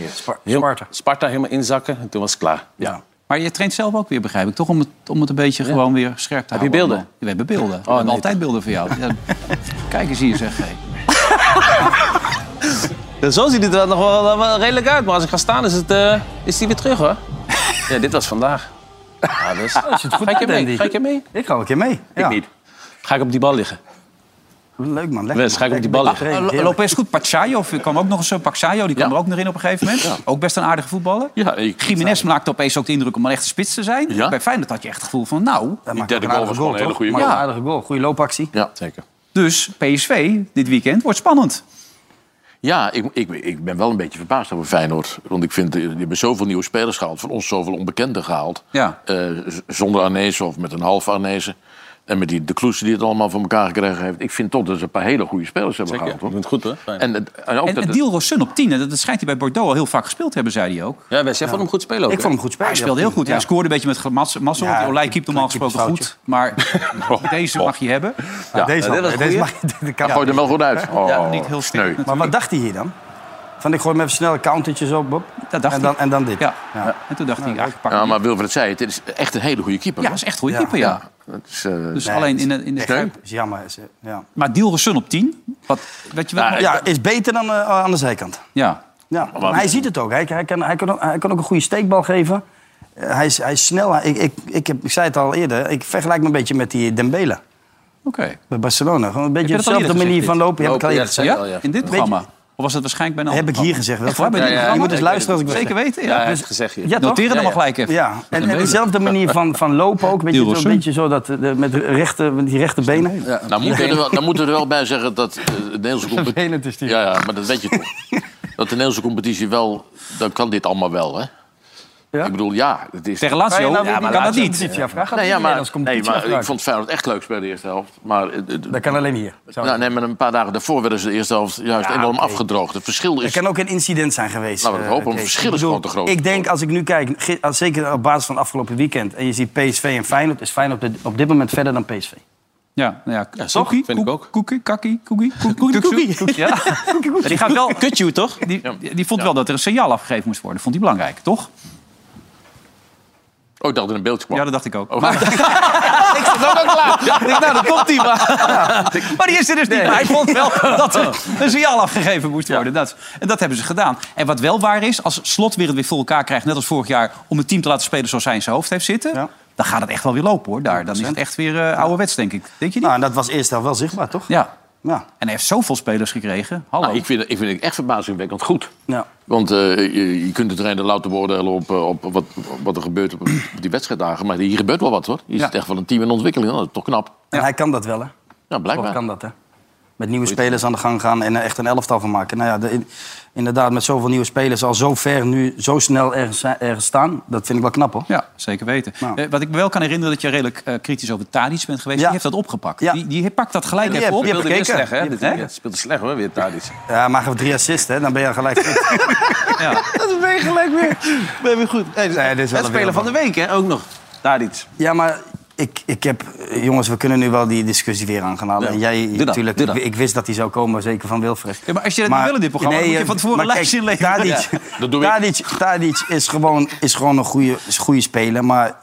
meer. Sparta. Sparta helemaal inzakken en toen was het klaar. Ja. Maar je traint zelf ook weer, begrijp ik. Toch om het, om het een beetje gewoon weer scherp te Heb je houden. beelden? We hebben beelden. we hebben altijd beelden van jou. Ja. Kijk eens hier, zeg. Hey. Ja, zo ziet het er nog wel, eh, wel redelijk uit. Maar als ik ga staan is, het, eh, is die weer terug hoor. Ja, dit was vandaag. Ja, dus. ga ik je mee? Ga ik je mee? Ik ga wel een keer mee. Ik niet. Ga ik op die bal liggen? Leuk, man. dus Wes, ga ik op die bal liggen? Ah, Lo- Lopez goed. Pachayo kwam ook nog eens. eh, Pachayo die kwam er ook nog in op een gegeven moment. Ook best een aardige voetballer. Ja, ik- Jiménez maakte opeens ook de indruk om een echte spits te zijn. Ja. Bij Feyenoord had je echt het gevoel van, nou... Die derde goal was gewoon een hele goede goal. Ja. Aardige goal, goede loopactie. Ja, zeker. Dus PSV dit weekend wordt spannend. Ja, ik, ik, ik ben wel een beetje verbaasd over Feyenoord. Want ik vind, eh, die hebben zoveel nieuwe spelers gehaald. Van ons zoveel onbekenden gehaald. Ja. Eh, z- zonder Arnezen of met een half Arnezen. En met die, de Kloes die het allemaal voor elkaar gekregen heeft. Ik vind toch dat ze een paar hele goede spelers hebben Zeker. gehaald. Hoor. goed, hè? En, het- en ook En, dat dus. en het- Dielro Sun op 10, hè, dat, dat schijnt hij bij Bordeaux al heel vaak gespeeld te hebben, zei hij ook. Ja, wij, jij vond hem goed spelen ook. hè? Hij speelde heel goed. Hij scoorde een beetje met ge- mas- mazzel. Ja, Ja, Olij keept normaal gesproken goed. Maar deze mag je hebben. Ja, deze Deze, was deze, een deze goeie. mag, dit kan Ja, gooi hem wel goed uit. Oh, Ja, niet heel sneu. Maar wat dacht hij hier dan? Van ik gooi hem even snel een countertje op. Bob. Dat dacht en, dan, hij. en dan dit. Nou, Ja. En toen dacht hij, eigenlijk pak Ja, maar Wilfred zei het, het is echt een hele goede keeper. Ja, hoor. is echt een goede keeper, ja. Dat is, eh, Dus alleen in de, in de Echt, Kuip. is jammer. Is, eh, ja. Maar Dielro Sun op 10? Wat, weet je wel? ja, is beter dan eh, aan de zijkant. ja. Ja, Oh, maar hij ziet het ook. Hij, hij, kan, hij, kan, ook- hij kan ook een goede steekbal geven. Eh, hij, is, hij is snel. Hij- ik, ik, ik, heb, ik zei het al eerder. Ik vergelijk me een beetje met die Dembele. Oké. Bij Barcelona. Gewoon een beetje Heb je dat al dezelfde eerder manier van gezegd, dit? lopen. Heb ik al eerder Ja? gezegd. In dit Weet programma? je- Of was dat waarschijnlijk bij een Heb ander ik hier programma? gezegd, wel. Echt waar, bij dit Ja, ja, programma? je moet eens luisteren als ik Zeker het weten, zeg. ja. Ja, hij Dus- heeft gezegd hier. ja, toch? Noteren dan Ja, maar ja. gelijk even. Ja, en, en dezelfde manier van, van lopen ook. Weet je, Dielrosun. zo'n beetje zo dat, de, met de rechte, met die rechte benen. Nou, moeten we er wel, nou moeten we er wel bij zeggen dat eh, de Nederlandse competitie... Ja, ja, maar dat weet je toch. Dat de Nederlandse competitie wel... Dan kan dit allemaal wel, hè? Ik bedoel, ja. Het is... Tegen Lazio? nou Ja, maar Kan dat Lazio niet? competitie afvragen? Nee, Gaat ja, die maar, Nederlandse nee, competitie maar ik afvragen? vond Feyenoord echt leuk bij de eerste helft. Maar, dat kan alleen hier. Nou, nee, maar een paar dagen daarvoor werden ze de eerste helft juist Ja, enorm oké. afgedroogd. Het verschil Er is... kan ook een incident zijn geweest. dus- Laten we het eh, hopen, want het Kees. verschil is Ik bedoel, gewoon te groot. Ik denk, als ik nu kijk, ge- als- zeker op basis van afgelopen weekend... en je ziet PSV en Feyenoord, is Feyenoord op dit- op dit moment verder dan PSV. Ja, nou ja, Koekie, vind ik ook. Koekie, kakkie, koekie, koekie, koekie. koekie, ja. Ja, Die gaat wel... Kutju, toch? Die, die vond wel dat er een signaal afgegeven moest worden. Vond hij belangrijk, toch? Oh, ik dacht dat er een beeld kwam. Ja, dat dacht ik ook. ik zat ook al klaar. Ja, ik denk, nou, dat komt hij maar. Maar die is er dus niet. Maar hij vond wel dat er een signaal afgegeven moest worden. Dat, en dat hebben ze gedaan. En wat wel waar is, als Slot weer het weer voor elkaar krijgt... net als vorig jaar, om het team te laten spelen zoals hij in zijn hoofd heeft zitten... dan gaat het echt wel weer lopen, hoor. Daar. Dan is het echt weer oude ouderwets, denk ik. Denk je niet? Nou, en dat was eerst al wel zichtbaar, toch? Ja. Ja. En hij heeft zoveel spelers gekregen. Hallo. Nou, ik, vind, ik vind het echt verbazingwekkend goed. Ja. Want eh, je, je kunt het er louter beoordelen op, eh, op wat, wat er gebeurt op, op die wedstrijddagen. Maar hier gebeurt wel wat, hoor. Hier zit echt wel een team in ontwikkeling. Nou, dat is toch knap. En hij kan dat wel, hè? Ja, blijkbaar. Toch kan dat, hè? Met nieuwe spelers aan de gang gaan en er echt een elftal van maken. Nou ja, de- in- inderdaad, met zoveel nieuwe spelers al zo ver nu, zo snel ergens, zijn- ergens staan. Dat vind ik wel knap, hoor. Ja, zeker weten. Eh, wat ik me wel kan herinneren, dat je redelijk eh, kritisch over Tadic bent geweest. Die heeft dat opgepakt. Die, die pakt dat gelijk Ja, die even op. heb- die heb Speelde weer gekeken. slecht, hè, Die dit, heb hè? gekeken. Speelde eh, slecht hoor, weer Tadic. Ja, maar hij heeft drie assists, hè? Dan ben je al gelijk goed. Dat ben je gelijk weer. Ben je weer goed. Hey, Nee, dus, eh, dit is wel het een speler van de week, hè? Ook nog. Tadic. Ja, maar ik, ik heb... Jongens, we kunnen nu wel die discussie weer aan gaan halen. Ja. En jij, Doe dat, natuurlijk, doe dat. ik, ik wist dat hij zou komen, zeker van Wilfred. Ja, maar als je dat niet wil in dit programma, dan moet je van tevoren een maar lijstje kijk, leveren. Tadic, Ja, dat doe ik. Tadic, Tadic is gewoon, is gewoon een, goede, is een goede speler, maar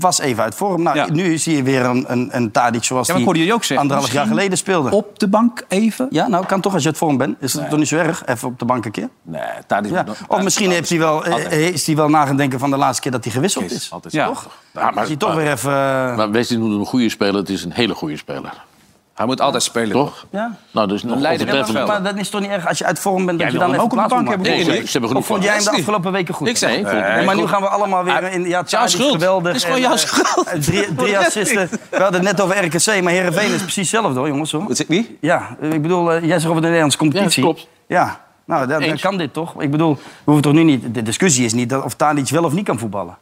was even uit vorm. Nou, Nu zie je weer een, een, een Tadic zoals Ja, maar ik hoorde die jullie ook zeggen, anderhalf jaar misschien geleden speelde. Op de bank even? Ja, nou kan toch als je uit vorm bent. Is het toch niet zo erg? Even op de bank een keer. Nee, Tadic. Ja. Of misschien heeft hij wel, eh, is hij wel nagedenken van de laatste keer dat hij gewisseld is. Altijd. Ja. Toch? Ja, maar, Is hij toch weer even... eh, maar Wesley noemt hem een goede speler. Het is een hele goede speler. Hij moet altijd spelen, toch? Ja. Nou, dus nog leider. Ja, overtreffend. maar, maar dat is toch niet erg als je uit vorm bent dat Jij je wil dan hem even ook op de plaats moet bank hebben maken? Nee, gevonden. ik- ze hebben genoeg Of vond van. jij hem de Dat is niet- afgelopen weken goed? Ik zei, ik vond hem Nee, heel maar nu goed. gaan we allemaal weer in... Ja, Tadic is schuld. Geweldig, Het is gewoon en, jouw eh, schuld. Drie, Voor de drie rest assisten. niet. We hadden het net over RKC, maar Heerenveen is precies hetzelfde hoor, jongens. Hoor. Wie? Ja, eh, ik bedoel, eh, jij zegt over de Nederlandse competitie. Ja, klopt. Ja, nou, dat- dan kan dit toch? Ik bedoel, we hoeven toch nu niet... De discussie is niet dat of Tadic wel of niet kan voetballen.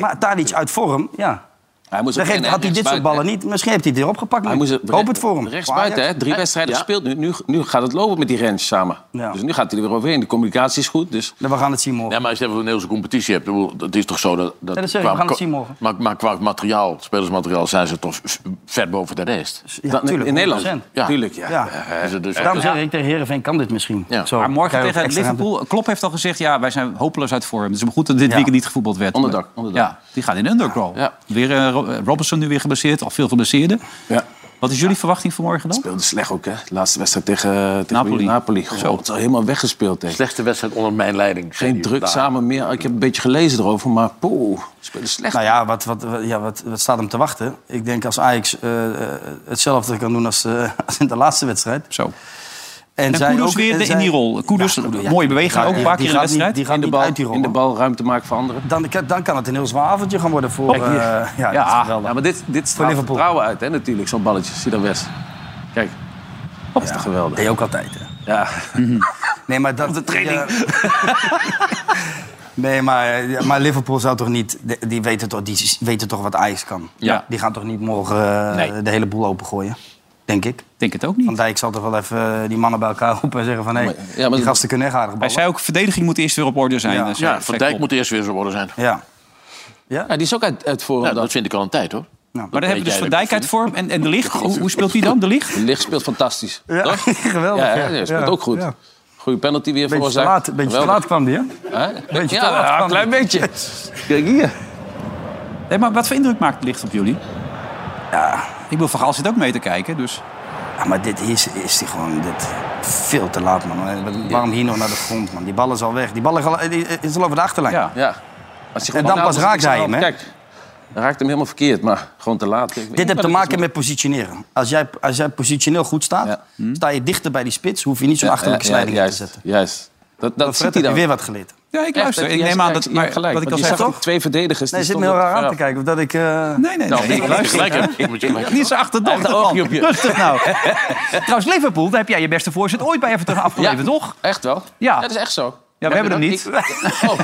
Maar Tadic uit vorm, ja. Hij moest Dan ook geeft- geen- had hij dit soort rechtsbuiten. ballen niet. Misschien heeft hij het weer opgepakt. Hij nu. moest Hoop het voor hem. Rechtsbuiten, Voor Ajax. hè? Drie wedstrijden ja. gespeeld. Nu, nu, nu gaat het lopen met die Rens samen. Ja. Dus nu gaat hij er weer overheen. De communicatie is goed. Dus... Nou, We gaan het zien morgen. Ja, maar als je even een Nederlandse competitie hebt, ik bedoel, dat is toch zo dat... dat, Ja, dat zeg ik, we gaan het zien morgen. Maar, maar qua materiaal, spelersmateriaal, zijn ze toch v- ver boven de rest. Ja, Dan- in tuurlijk, Nederland? Eh, 100%. Ja. Tuurlijk, ja. Ja. Dus, dus, Eh, Daarom zeg ik tegen Heerenveen kan dit misschien. Zo, Maar morgen krijg je tegen extra Liverpool, Klopp heeft al gezegd... ja, wij zijn hopeloos uit vorm. Het is maar goed dat dit Ja. weekend niet gevoetbald werd. Onderdak, onderdak. Ja, die gaat in undergrow. Weer eh, Ro- eh, Robertson nu weer geblesseerd, al veel geblesseerden. Ja. Wat is jullie verwachting voor morgen dan? Speelde slecht ook, hè? De laatste wedstrijd tegen, tegen Napoli. Napoli. Goh, Zo. het is al helemaal weggespeeld, hè? Slechtste wedstrijd onder mijn leiding. zei Geen hij druk daar. samen meer. Ik heb een beetje gelezen erover, maar poeh, speelde slecht. Nou ja, wat, wat, wat- ja wat, wat staat hem te wachten? Ik denk als Ajax eh, eh, hetzelfde kan doen als, eh, als in de laatste wedstrijd. Zo. En, En zij Kudus ook- weer en de- in zij- die rol. Kudus, ja, mooie beweging die- ook, een paar die gaat keer in de niet- wedstrijd. Die gaat in, de niet bal, uit die rol. in de bal ruimte maken voor anderen. Dan, dan kan het een heel zwaar avondje gaan worden voor... Kijk eh, hier. ja, ja, dat is geweldig. ja, maar dit, dit straalt Liverpool. vertrouwen uit, hè, natuurlijk, zo'n balletje. Zie dat West. Kijk, dat is toch geweldig. Deed je ook altijd. Hè? Ja. Nee, maar dat... Op de training. Nee, maar, ja, maar Liverpool zou toch niet... die- Die weten toch, die weten toch wat Ajax kan? Ja. Die gaan toch niet morgen eh, Nee. de hele boel opengooien? Denk ik. Denk het ook niet. Van Dijk zal toch wel even eh, die mannen bij elkaar roepen en zeggen van... hé, Maar- ja, maar- die gasten kunnen echt aardig Hij ballen. zei ook, verdediging moet eerst weer op orde zijn. eh, zei Ja, Van Verkop. Dijk moet eerst weer zo worden zijn. Ja. Ja? die is ook uit, uit dat vind ik al een tijd, hoor. Maar dan hebben we dus Van Dijk uit vorm en, en De Ligt. Hoe, hoe speelt hij dan, De Ligt? De Ligt speelt fantastisch. Ja, toch? geweldig, Ja, ja. ja, hij speelt Ja, ook goed. ja. Goede penalty Beetje weer te veroorzaakt. laat, beetje te Geweldig. laat kwam die, hè? Hè? Beetje ja, te laat ja, kwam een klein beetje. Kijk hier. Nee, maar wat voor indruk maakt De Ligt op jullie? Ja. Ik bedoel, Van Gaal zit ook mee te kijken, dus... Ja, maar dit is, is die gewoon dit, veel te laat, man. Eh, Waarom hier nog naar de grond, man? Die bal is al weg. Die bal is al, eh, die is al over de achterlijn. Ja. ja. Als hij En gewoon- dan pas als- raakt hij hem, hè? Kijk, dan raakt hem helemaal verkeerd, maar gewoon te laat. Kijk, Dit heeft maar te dat is maken met positioneren. Als jij, als jij positioneel goed staat, sta je dichter bij die spits... hoef je niet zo'n Ja, achterlijke ja, ja, slijding in te juist, zetten. Juist. Dat, Fred, dat, ziet hij heb je dan. weer wat geleerd. Ja, ik Echt, luister. dat- ik je neem hebt aan dat... gelijk, je hebt gelijk. wat ik al Want je zei, zag toch? die twee verdedigers. Nee, die zit me heel stonden- raar aan ja. te kijken of dat ik... eh, Nee, nee, nee. Nou, nee, ik luister. gelijk heb. Ik moet je gelijk Niet zo achterdochtig, Echt een man. oogje op je. Rustig nou. Trouwens, Liverpool, daar heb jij je beste voorzet ooit bij Everton afgeleverd, toch? Echt wel? Ja. Dat is echt zo. Ja, we hebben hem niet. Ik- oh,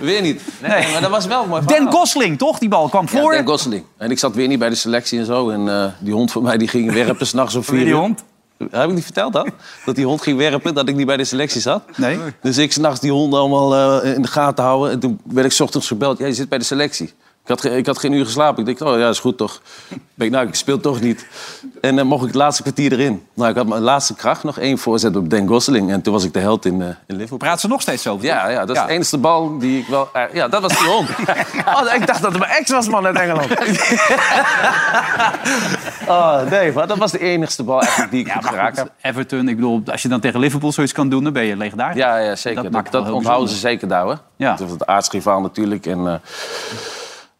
weer niet. Nee, Nee. maar dat was wel een mooi. Den verhaal. Gosling, toch? Die bal kwam voor. Ja, Den Gosling. En ik zat weer niet bij de selectie en zo. En eh, die hond van mij die ging werpen s'nachts om vier Weer die uur. hond? Heb ik niet verteld dan? Dat die hond ging werpen, dat ik niet bij de selectie zat. Nee. Dus ik s'nachts die honden allemaal eh, in de gaten houden. En toen werd ik 's ochtends gebeld. Ja, je zit bij de selectie. Ik had, ge- ik had geen uur geslapen. Ik dacht, oh ja, is goed toch. Ben ik, nou, ik speel toch niet. En dan mocht ik het laatste kwartier erin. Nou, ik had mijn laatste kracht nog één voorzet op Den Gosling. En toen was ik de held in, eh, in Liverpool. Praat ze nog steeds over? Ja, ja, dat is de enige bal die ik wel... eh, ja, dat was die hond. Oh, ik dacht dat het mijn ex was, man, uit Engeland. oh, nee, maar dat was de enigste bal eigenlijk die ik Ja, goed maar geraakt goed, heb. Everton, ik bedoel, als je dan tegen Liverpool zoiets kan doen, dan ben je legendarisch. Ja, ja, zeker. Dat, Dat maakt dat, het wel heel onthouden ze bijzonder. zeker, Douwe. Ja. Dat is het aardsrivaal natuurlijk. En, eh,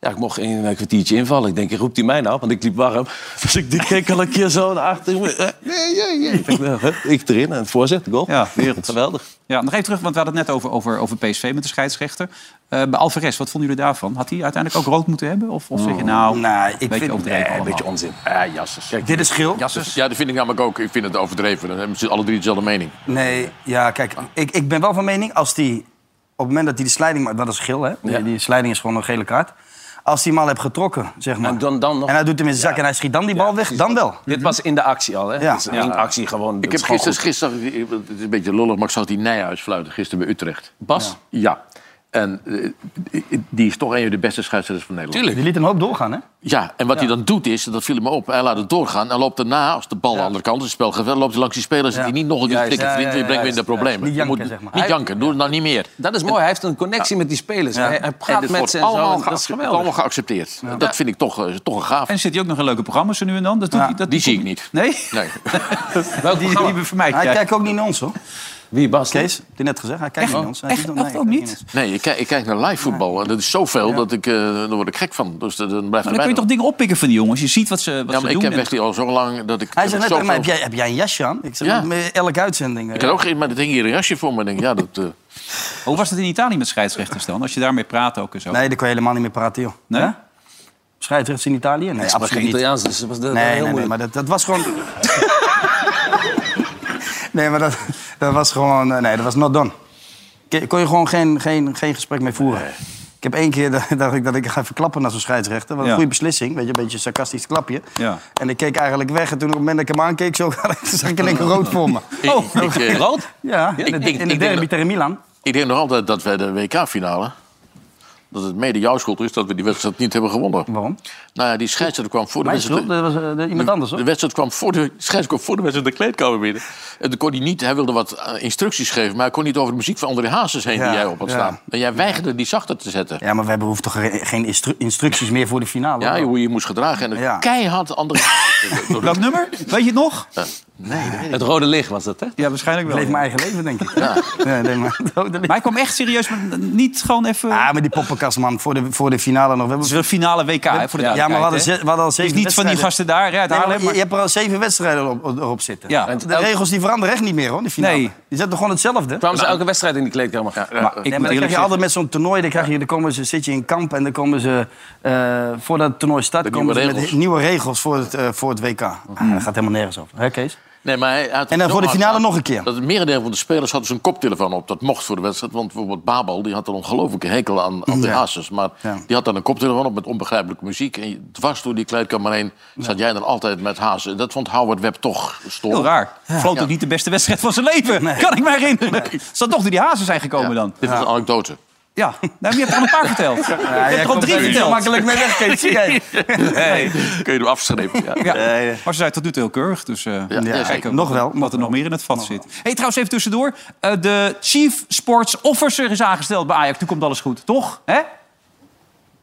ja, ik mocht een eh, kwartiertje invallen. Ik denk, roept hij mij nou? Want ik liep warm. Dus ik denk, keek al een keer zo naar achter. Eh, nee, nee, nee. Ik denk, nou, hè, Ik erin, en voorzet, goal. Ja, wereld. Geweldig. Ja, nog even terug, want we hadden het net over, over, over PSV met de scheidsrechter. Eh, bij Alvarez, wat vonden jullie daarvan? Had hij uiteindelijk ook rood moeten hebben? Of, of zeg je nou, Nou, ik een beetje vind- overdreven een allemaal? beetje onzin. Ah, jasses. Dit is geel. Ja, dat vind ik namelijk ook. Ik vind het overdreven. Dan hebben ze alle drie dezelfde mening. Nee, ja, kijk, ik, ik ben wel van mening als die... Op het moment dat hij de slijding... maakt, Dat is geel, hè? Die, die slijding is gewoon een gele kaart. Als hij hem al hebt getrokken, zeg maar. En dan, dan nog... En hij doet hem in zijn zak en hij schiet dan die bal weg, dan wel. Dit was in de actie al, hè? Ja. Ja. Dus één actie gewoon. Ik heb gisteren, gisteren, het is een beetje lullig, maar ik zag die Nijhuis fluiten gisteren bij Utrecht. Bas? Ja. En eh, die is toch een van de beste scheidsrechters van Nederland. Die liet een hoop doorgaan, hè? Ja, en wat hij dan doet is, dat viel me op, hij laat het doorgaan en loopt daarna, als de bal aan de andere kant is, het spel geveld, loopt hij langs die spelers Ja. die niet nog een keer Juist, tikken. ja, Vriend, ja, je ja, brengt weer in juist, de problemen. Niet Je janken, moet- zeg maar. Niet janken, doe het nou niet meer. Dat is mooi, hij heeft een connectie met die spelers. Hij, hij En praat dit met wordt ze en zo. allemaal, en Dat is geac- geweldig. allemaal geaccepteerd. Dat vind ik toch, eh, toch een gaaf. En zit hij ook nog in leuke programma's zo nu en dan? Dat doet hij, dat Die doet zie ik niet. hij- Nee? Nee. Welke die, die vermijdt Hij jij? kijkt ook niet naar ons, hoor. Wie, Bas? Kees, heb je net gezegd, hij kijkt niet naar ons. Hij Echt, doet- echt nee, ook hij niet? kijkt Nee, ik kijk, ik kijk naar live voetbal. En dat is zoveel dat ik, eh daar word ik gek van. Dus dat- dan blijft Maar dan kun er je toch weinig. dingen oppikken van die jongens? Je ziet wat ze, wat Ja, ze maar ik doen. heb en- echt al zo lang dat ik. Hij zegt dat ik net tegen mij, zoveel- heb jij, heb jij een jasje aan? Ik zeg, Ja. met elke uitzending. eh. Ik had ook geen, maar dat hing hier een jasje voor me. Ik Denk, ja, dat, eh, Hoe was het in Italië met scheidsrechters dan? Als je daarmee praat ook en zo. Nee, daar kon je helemaal niet meer praten, joh. Nee? Hè? Scheidsrechts in Italië? Nee, Het was geen absoluut niet. Italiaans, dus dat was dat was Nee, heel nee, nee, moeilijk. maar dat, dat was gewoon... nee, maar dat, dat was gewoon... eh, Nee, dat was not done. Ke- Kon je gewoon geen, geen, geen gesprek mee voeren. Ik heb één keer da- dacht ik dat ik ga verklappen naar zo'n scheidsrechter. Wat een Ja. goede beslissing. Weet je, een beetje een sarcastisch klapje. Ja. En ik keek eigenlijk weg. En toen op het moment dat ik hem aankeek, zo, zag ik in één keer rood voor me. ik, ik, eh, Rood? Ja, in Ik- de, ik- in de ik denk derby dat- tegen Milan. ik denk nog altijd dat wij de WK-finale. dat het mede jouw schuld is dat we die wedstrijd niet hebben gewonnen. Waarom? Nou ja, die scheidsrechter kwam voor de Mijn wedstrijd. schuld, dat was eh, iemand anders, hoor. De wedstrijd kwam voor de, de scheidsrechter kwam voor de wedstrijd de kleedkamer binnen. En toen kon hij niet, hij wilde wat eh, instructies geven, maar hij kon niet over de muziek van André Hazes heen Ja, die jij op had ja. staan. En jij weigerde die zachter te zetten. Ja, maar wij behoeven toch ge- geen instru- instructies meer voor de finale? Ja, hoor. hoe je je moest gedragen. En Ja. ja. keihard André Hazes. door de- Welk nummer? Weet je het nog? Het rode licht was dat, hè? Ja, waarschijnlijk Ik wel. leef mijn Maar eigen leven, denk ik. Ja. nee, nee, maar, hij kwam echt serieus, maar niet gewoon even... ah, maar die poppenkast, man, voor de, voor de finale nog. We hebben- Het is een finale WK, hè, voor de ja, maar we hadden, duidelijkheid, hè? ze- we hadden al Het is zeven niet van die wedstrijden. gasten daar, hè, uit Nee, maar Haarlem. je, je Maar... hebt er al zeven wedstrijden op, erop zitten. Ja. En de regels die veranderen echt niet meer, hoor, de finale. Nee. Die zetten gewoon hetzelfde. Kwamen ze elke wedstrijd in die kleedkamer? Maar Ik ik moet dan krijg eerlijk je zeggen, altijd met zo'n toernooi, dan, krijg je, dan komen ze, zit je in kamp... en dan komen ze, eh, voordat het toernooi start, De komen nieuwe ze met regels. he- nieuwe regels voor het, eh, voor het WK. Ah, dat gaat helemaal nergens over. Hè, Kees? Nee, maar hij had En dan voor de had- finale nog een keer. Dat het merendeel van de spelers had zijn koptelefoon op. Dat mocht voor de wedstrijd. Want bijvoorbeeld Babel die had een ongelofelijke hekel aan, aan de Ja. Hazes. Maar die had dan een koptelefoon op met onbegrijpelijke muziek. En je- dwars door die kleedkamer heen zat jij dan altijd met Hazes. En dat vond Howard Webb toch storend. Heel raar. Ja. Vloot ook niet de beste wedstrijd van zijn leven. Kan ik me herinneren. Zat toch door die hazen zijn gekomen dan. Dit is een anekdote. Ja, nou, maar je hebt er al een paar verteld. je hebt er al drie verteld. Nee. Kun je hem afschrijven. Ja. Ja. Eh, Maar ze zijn tot nu toe heel keurig. Dus eh Eh, ja, kijken zeker. wat- Nog wel, Wat er nog meer in het vat zit. hey, trouwens, even tussendoor. Eh, de Chief Sports Officer is aangesteld bij Ajax. Nu komt alles goed, toch? Hè?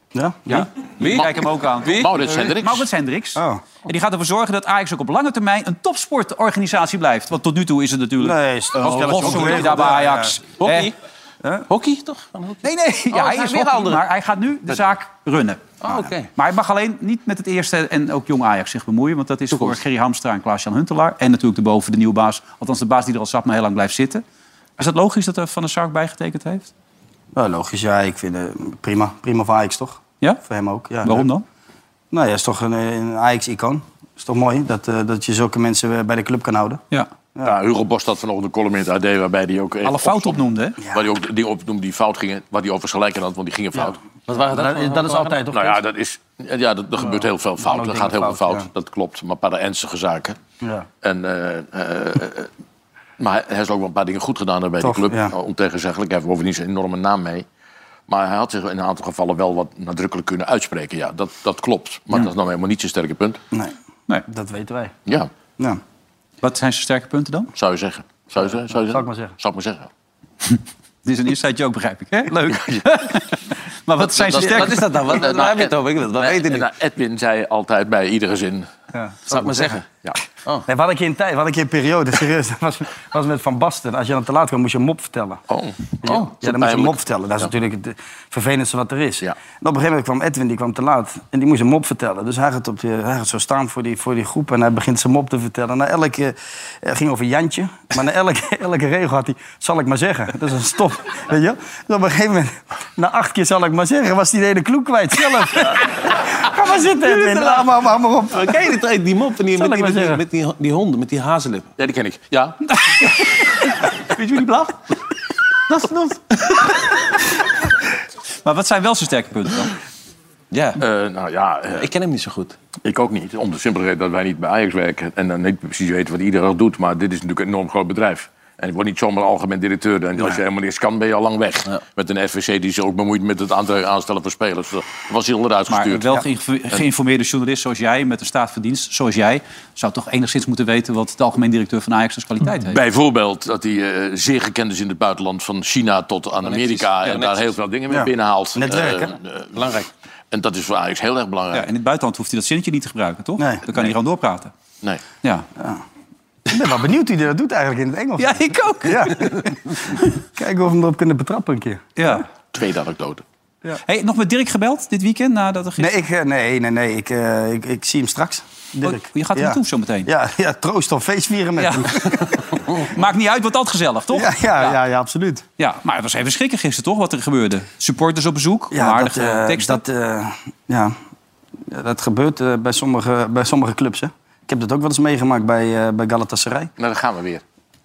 Ja? Ja. Wie? Kijk hem ook aan. Wie? Maurits Hendricks. Maurits Hendricks. En die gaat ervoor zorgen dat Ajax ook op lange termijn een topsportorganisatie blijft. Want tot nu toe is het natuurlijk... Nee, is het een Oh, een rotzooi hockey- daar bij Ajax. Hockey. Eh, Hockey, toch? Nee, nee. Ja, Oh, hij hij is weer hockey, andere. maar hij gaat nu de zaak runnen. Oh, oké. Maar hij mag alleen niet met het eerste en ook jong Ajax zich bemoeien. Want dat is voor Gerry Hamstra en Klaas-Jan Huntelaar. En natuurlijk de boven, de nieuwe baas. Althans, de baas die er al zat, maar heel lang blijft zitten. Is dat logisch dat er Van der Sark bijgetekend heeft? Nou, logisch, ja. Ik vind het prima. Prima voor Ajax, toch? Ja? Voor hem ook, ja. Waarom dan? Nou ja, is toch een, een Ajax-icoon. Is toch mooi dat, eh, dat je zulke mensen eh, bij de club kan houden. Ja. Ja, Hugo Bos had vanochtend een column in het AD waarbij hij ook... Alle fouten opnoemde, hè? Waar hij ook die opnoemde die fout gingen, waar hij overigens gelijk aan had, want die gingen fout. Wat waren dat? Dat- dat is altijd, toch? Nou ja, dat is, ja dat, er gebeurt heel veel fout. Er dingen gaat heel veel fout, fout, dat klopt. Maar een paar ernstige zaken. Ja. En, eh, eh, eh, maar hij- hij heeft ook wel een paar dingen goed gedaan daar bij Toch, de club. eh, ja. Ontegenzeggelijk. Hij heeft bovendien zijn enorme naam mee. Maar hij had zich in een aantal gevallen wel wat nadrukkelijk kunnen uitspreken. Ja, dat, dat klopt. Maar dat is nou helemaal niet zijn sterke punt. Nee. Nee. Dat weten wij. Ja, Ja. Wat zijn zijn sterke punten dan? zou je zeggen. Zou je, zeggen? zou je Zou ik zeggen? maar zeggen. Zou ik maar zeggen. Dit is een inside joke, begrijp ik. Hè? Leuk. maar wat zijn zijn Dat- sterke dat- punten? Nou, waar heb je het over? Ik wil het wel nou, weten en- nu. nou, Edwin zei altijd bij iedere zin. Zou ik maar zeggen. Oh. Ja. Nee, we hadden een keer een tijd, we hadden een keer een periode, serieus. Dat was, was met Van Basten. Als je dan te laat kwam, moest je een mop vertellen. Oh, ja, dan moest je een pijnlijk. mop vertellen. Dat is Ja. natuurlijk het eh, vervelendste wat er is. En op een gegeven moment kwam Edwin, die kwam te laat. En die moest een mop vertellen. Dus hij gaat, op die, hij gaat zo staan voor die, voor die groep. En hij begint zijn mop te vertellen. Na elke, het ging over Jantje. Maar na elke, elke regel had hij, zal ik maar zeggen. Dat is een stop, weet je wel? Dus op een gegeven moment, na acht keer zal ik maar zeggen... was hij de hele kloek kwijt zelf. Ga maar zitten, Edwin. Hou maar, hou maar op. Oké, die, die mop van die, Zal met, ik maar die, met, die, zeggen. met die, die honden, met die hazenlip. Ja, die ken ik. Ja. Weet je wie die blaf? Dat is nog. Maar wat zijn wel zijn sterke punten dan? Ja. nou ja, ik ken hem niet zo goed. Ik ook niet. Om de simpele reden dat wij niet bij Ajax werken. En dan niet precies weten wat iedereen al doet. Maar dit is natuurlijk een enorm groot bedrijf. En ik word niet zomaar algemeen directeur. En als je helemaal niks kan, ben je al lang weg. Met een FVC die zich ook bemoeit met het aantal- aanstellen van spelers. Dat was hij al eruit Maar gestuurd. wel geïnfo- geïnformeerde journalist zoals jij, met een staat van dienst zoals jij, zou toch enigszins moeten weten wat de algemeen directeur van Ajax als kwaliteit heeft. Bijvoorbeeld dat hij eh, zeer gekend is in het buitenland. Van China tot aan Amerika. en daar netjes. heel veel dingen mee Ja. binnenhaalt. Netwerk, hè? Eh, eh, belangrijk. En dat is voor Ajax heel erg belangrijk. Ja, in het buitenland hoeft hij dat zinnetje niet te gebruiken, toch? Dan kan hij gewoon doorpraten. Nee. Ja. Ik ben wel benieuwd hoe hij dat doet eigenlijk in het Engels. Ja, ik ook. Ja. Kijken of we hem erop kunnen betrappen een keer. ja. Tweede anekdote. Hey, nog met Dirk gebeld dit weekend nadat er Nee, gisteren... ik, eh, nee, nee, nee. Ik, eh, ik, ik zie hem straks. Dirk. Oh, je gaat er ja. naartoe zo meteen. Ja, ja, troost of feest vieren met Ja. hem. Maakt niet uit, wat altijd gezellig, toch? Ja, ja, ja, ja, absoluut. Ja, maar het was even schrikken gisteren, toch? Wat er gebeurde. Supporters op bezoek, Ja, aardige dat, eh, teksten. Dat, eh, ja. Ja, dat gebeurt eh, bij, sommige, bij sommige clubs. Hè. Ik heb dat ook wel eens meegemaakt bij, eh, bij Galatasaray. Nou, daar gaan we weer.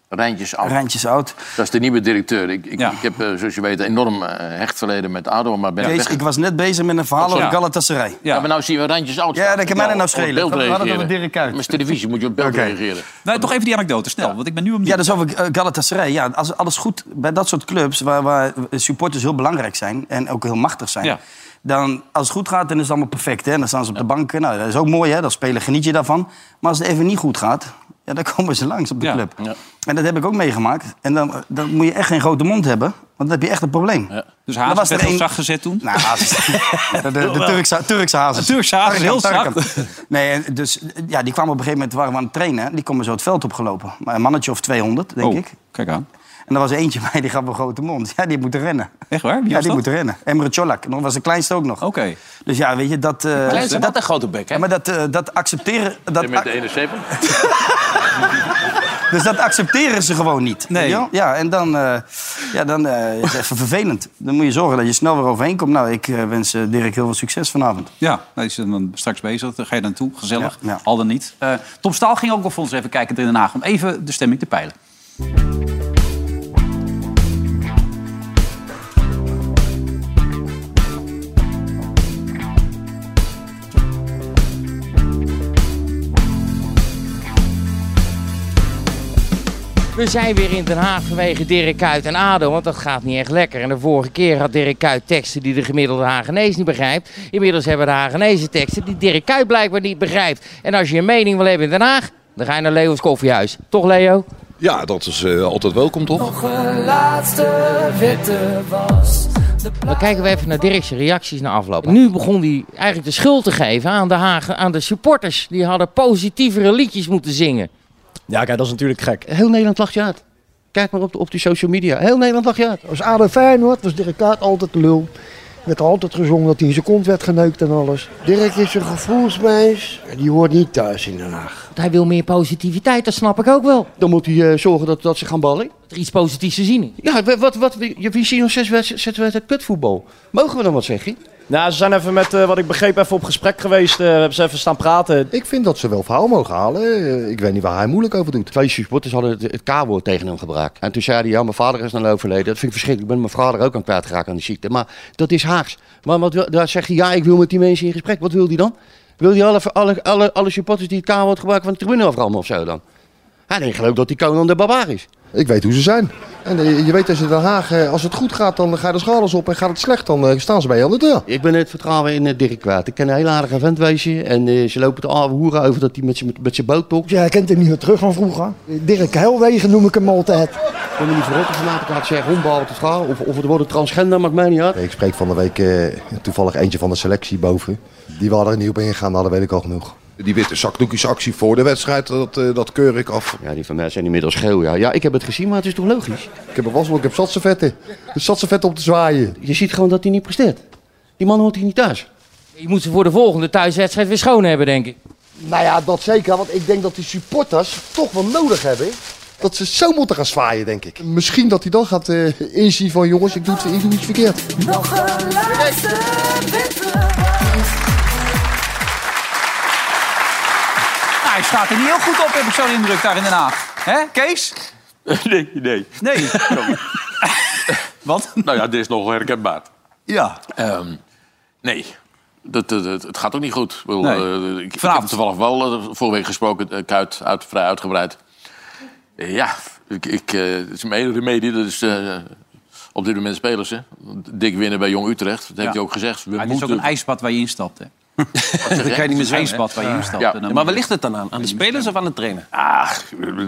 Rijntjes af. Rijntjes oud. Dat is de nieuwe directeur. Ik, ik, ik heb, eh, zoals je weet, een enorm eh, hecht verleden met ADO. Maar ben Kees, weg. ik was net bezig met een verhaal Ja. over Galatasaray. Ja. maar nou zien we Randjes oud. Ja, dat kan mij nou schelen. Op beeld We hadden het reageren. over Dirk Kuyt. Met televisie moet je op beeld reageren. Nee, toch even die anekdote, snel. Want ik ben nu om die... Ja, dus over eh, Galatasaray. Ja, als alles goed bij dat soort clubs waar, waar supporters heel belangrijk zijn en ook heel machtig zijn. Ja. Dan, als het goed gaat, dan is het allemaal perfect. Hè? Dan staan ze op de bank. Nou, dat is ook mooi, hè? Dat spelen geniet je daarvan. Maar als het even niet goed gaat, ja, dan komen ze langs op de Ja. club. En dat heb ik ook meegemaakt. En dan, dan moet je echt geen grote mond hebben, want dan heb je echt een probleem. Dus Dan Hazes was er werd heel één- zacht gezet toen. Nou, de, de, de Turkse, Turkse hazes. De Turkse hazes, heel Tarkan, zacht. Tarkan. Nee, en dus ja, die kwamen op een gegeven moment, waren we aan het trainen. hè. Die komen zo het veld opgelopen. Maar een mannetje of 200, Nou, denk Oh, ik. Kijk aan. En er was eentje bij, die gaf een grote mond. Ja, die moet rennen. Echt waar? Wie ja, was die dat? Oh. moet rennen. Emre Cholak. Nog was de kleinste ook nog. Oké. Dus ja, weet je, dat... eh, Kleinste dat had een grote bek, hè? E ja, maar dat, eh, dat accepteren... Dat, En met de 71? Dus dat accepteren ze gewoon niet. Nee. Ja, en dan, eh, ja, dan eh, is het even vervelend. Dan moet je zorgen dat je snel weer overheen komt. Nou, ik eh, wens eh, Dirk heel veel succes vanavond. Ja, nou, die zijn dan straks bezig. Daar ga je naartoe. Gezellig. Al dan niet. Eh, Tom Staal ging ook nog voor ons even kijken in Den Haag. Om even de stemming te peilen. We zijn weer in Den Haag vanwege Dirk Kuyt en ADO, want dat gaat niet echt lekker. En de vorige keer had Dirk Kuyt teksten die de gemiddelde Hagenees niet begrijpt. Inmiddels hebben de Hagenezen teksten die Dirk Kuyt blijkbaar niet begrijpt. En als je een mening wil hebben in Den Haag, dan ga je naar Leo's Koffiehuis. Toch Leo? Ja, dat is eh, altijd welkom, toch? Nog een laatste witte was. Dan kijken we even naar Dirk's reacties na afloop. Nu begon hij eigenlijk de schuld te geven aan de, Hagen, aan de supporters. Die hadden positievere liedjes moeten zingen. Ja, kijk, dat is natuurlijk gek. Heel Nederland lacht je uit. Kijk maar op, de, op die social media. Heel Nederland lacht je uit. Als ADO Feyenoord was Dirk Kuyt altijd de lul. Er werd altijd gezongen dat hij in zijn kont werd geneukt en alles. Dirk is een gevoelsmeis. Die hoort niet thuis in Den Haag. Want hij wil meer positiviteit, dat snap ik ook wel. Dan moet hij eh, zorgen dat, dat ze gaan ballen. Dat er iets positiefs te zien is. Ja, we- wat, wat, we, we zien nog zes wedst- zes wedstrijden kutvoetbal. Mogen we dan wat zeggen? Nou, ze zijn even met, eh, wat ik begreep, even op gesprek geweest. eh, we hebben ze even staan praten. Ik vind dat ze wel verhaal mogen halen. Eh, Ik weet niet waar hij moeilijk over doet. Twee supporters hadden het, het K-woord tegen hem gebruikt. En toen zei hij, ja, mijn vader is dan overleden. Dat vind ik verschrikkelijk. Ik ben mijn vader ook aan kwijt geraakt aan die ziekte. Maar dat is Haags. Maar wat, wil- daar zegt hij, ja, ik wil met die mensen in gesprek. Wat wil hij dan? Wil hij alle, alle, alle, alle supporters die het K-woord gebruiken van de tribune aframmen of zo dan? Hij denkt geloof ik dat die Conan de barbaar is. Ik weet hoe ze zijn. En eh, je weet als je Den Haag, eh, als het goed gaat, dan ga je de schaders op. En gaat het slecht, dan eh, staan ze bij je aan de deur. Ik ben het vertrouwen in eh, Dirk kwijt. Ik ken een heel aardige vent wezen. En eh, ze lopen te ouwe hoeren over dat hij met zijn met zijn boot tokt. Ja, hij kent hem niet meer terug van vroeger. Dirk Helwegen noem ik hem altijd. Ik kom me niet verrotten vanuit. Ik had zeggen, hombal te schaal. Of, of het worden transgender, maakt mij niet uit. Ik spreek van de week eh, toevallig eentje van de selectie boven. Die waren er niet op ingegaan, nou, dat weet ik al genoeg. Die witte zakdoekjesactie voor de wedstrijd, dat, eh, dat keur ik af. Ja, die van mij zijn inmiddels geel. Ja. ja, ik heb het gezien, maar het is toch logisch? Ik heb een wasbel, ik heb zatsenvetten. Er zat ze vet op te zwaaien. Je ziet gewoon dat hij niet presteert. Die man hoort hier niet thuis. Je moet ze voor de volgende thuiswedstrijd weer schoon hebben, denk ik. Nou ja, dat zeker. Want ik denk dat die supporters toch wel nodig hebben. Dat ze zo moeten gaan zwaaien, denk ik. Misschien dat hij dan gaat eh, inzien van jongens, ik doe, het, ik doe iets verkeerd. Nog een laatste witte was. Nou, hij staat er niet heel goed op, heb ik zo'n indruk daar in Den Haag. Hè, Kees? Nee, nee. Nee. Wat? Nou ja, dit is nog herkenbaar. Ja. nee. Dat, dat- dat- het gaat ook niet goed. Ik, bedoel, Nee. eh, ik- ik, heb toevallig wel eh, vorige week gesproken, eh, Kuit, uit, vrij uitgebreid. Eh, ja, ik, ik, eh, het is mijn enige remedie, dat is eh, op dit moment spelers. Hè. Dik winnen bij Jong Utrecht, dat heeft hij ook gezegd. We Maar het is moeten... ook een ijsbad waar je instapt, hè? Dat kan je niet meer zwemmen, hè? waar je Ja. instapt. Ja. Ja, En maar dan moet waar je- ligt het dan aan? Aan de spelers of aan de trainer? Ah,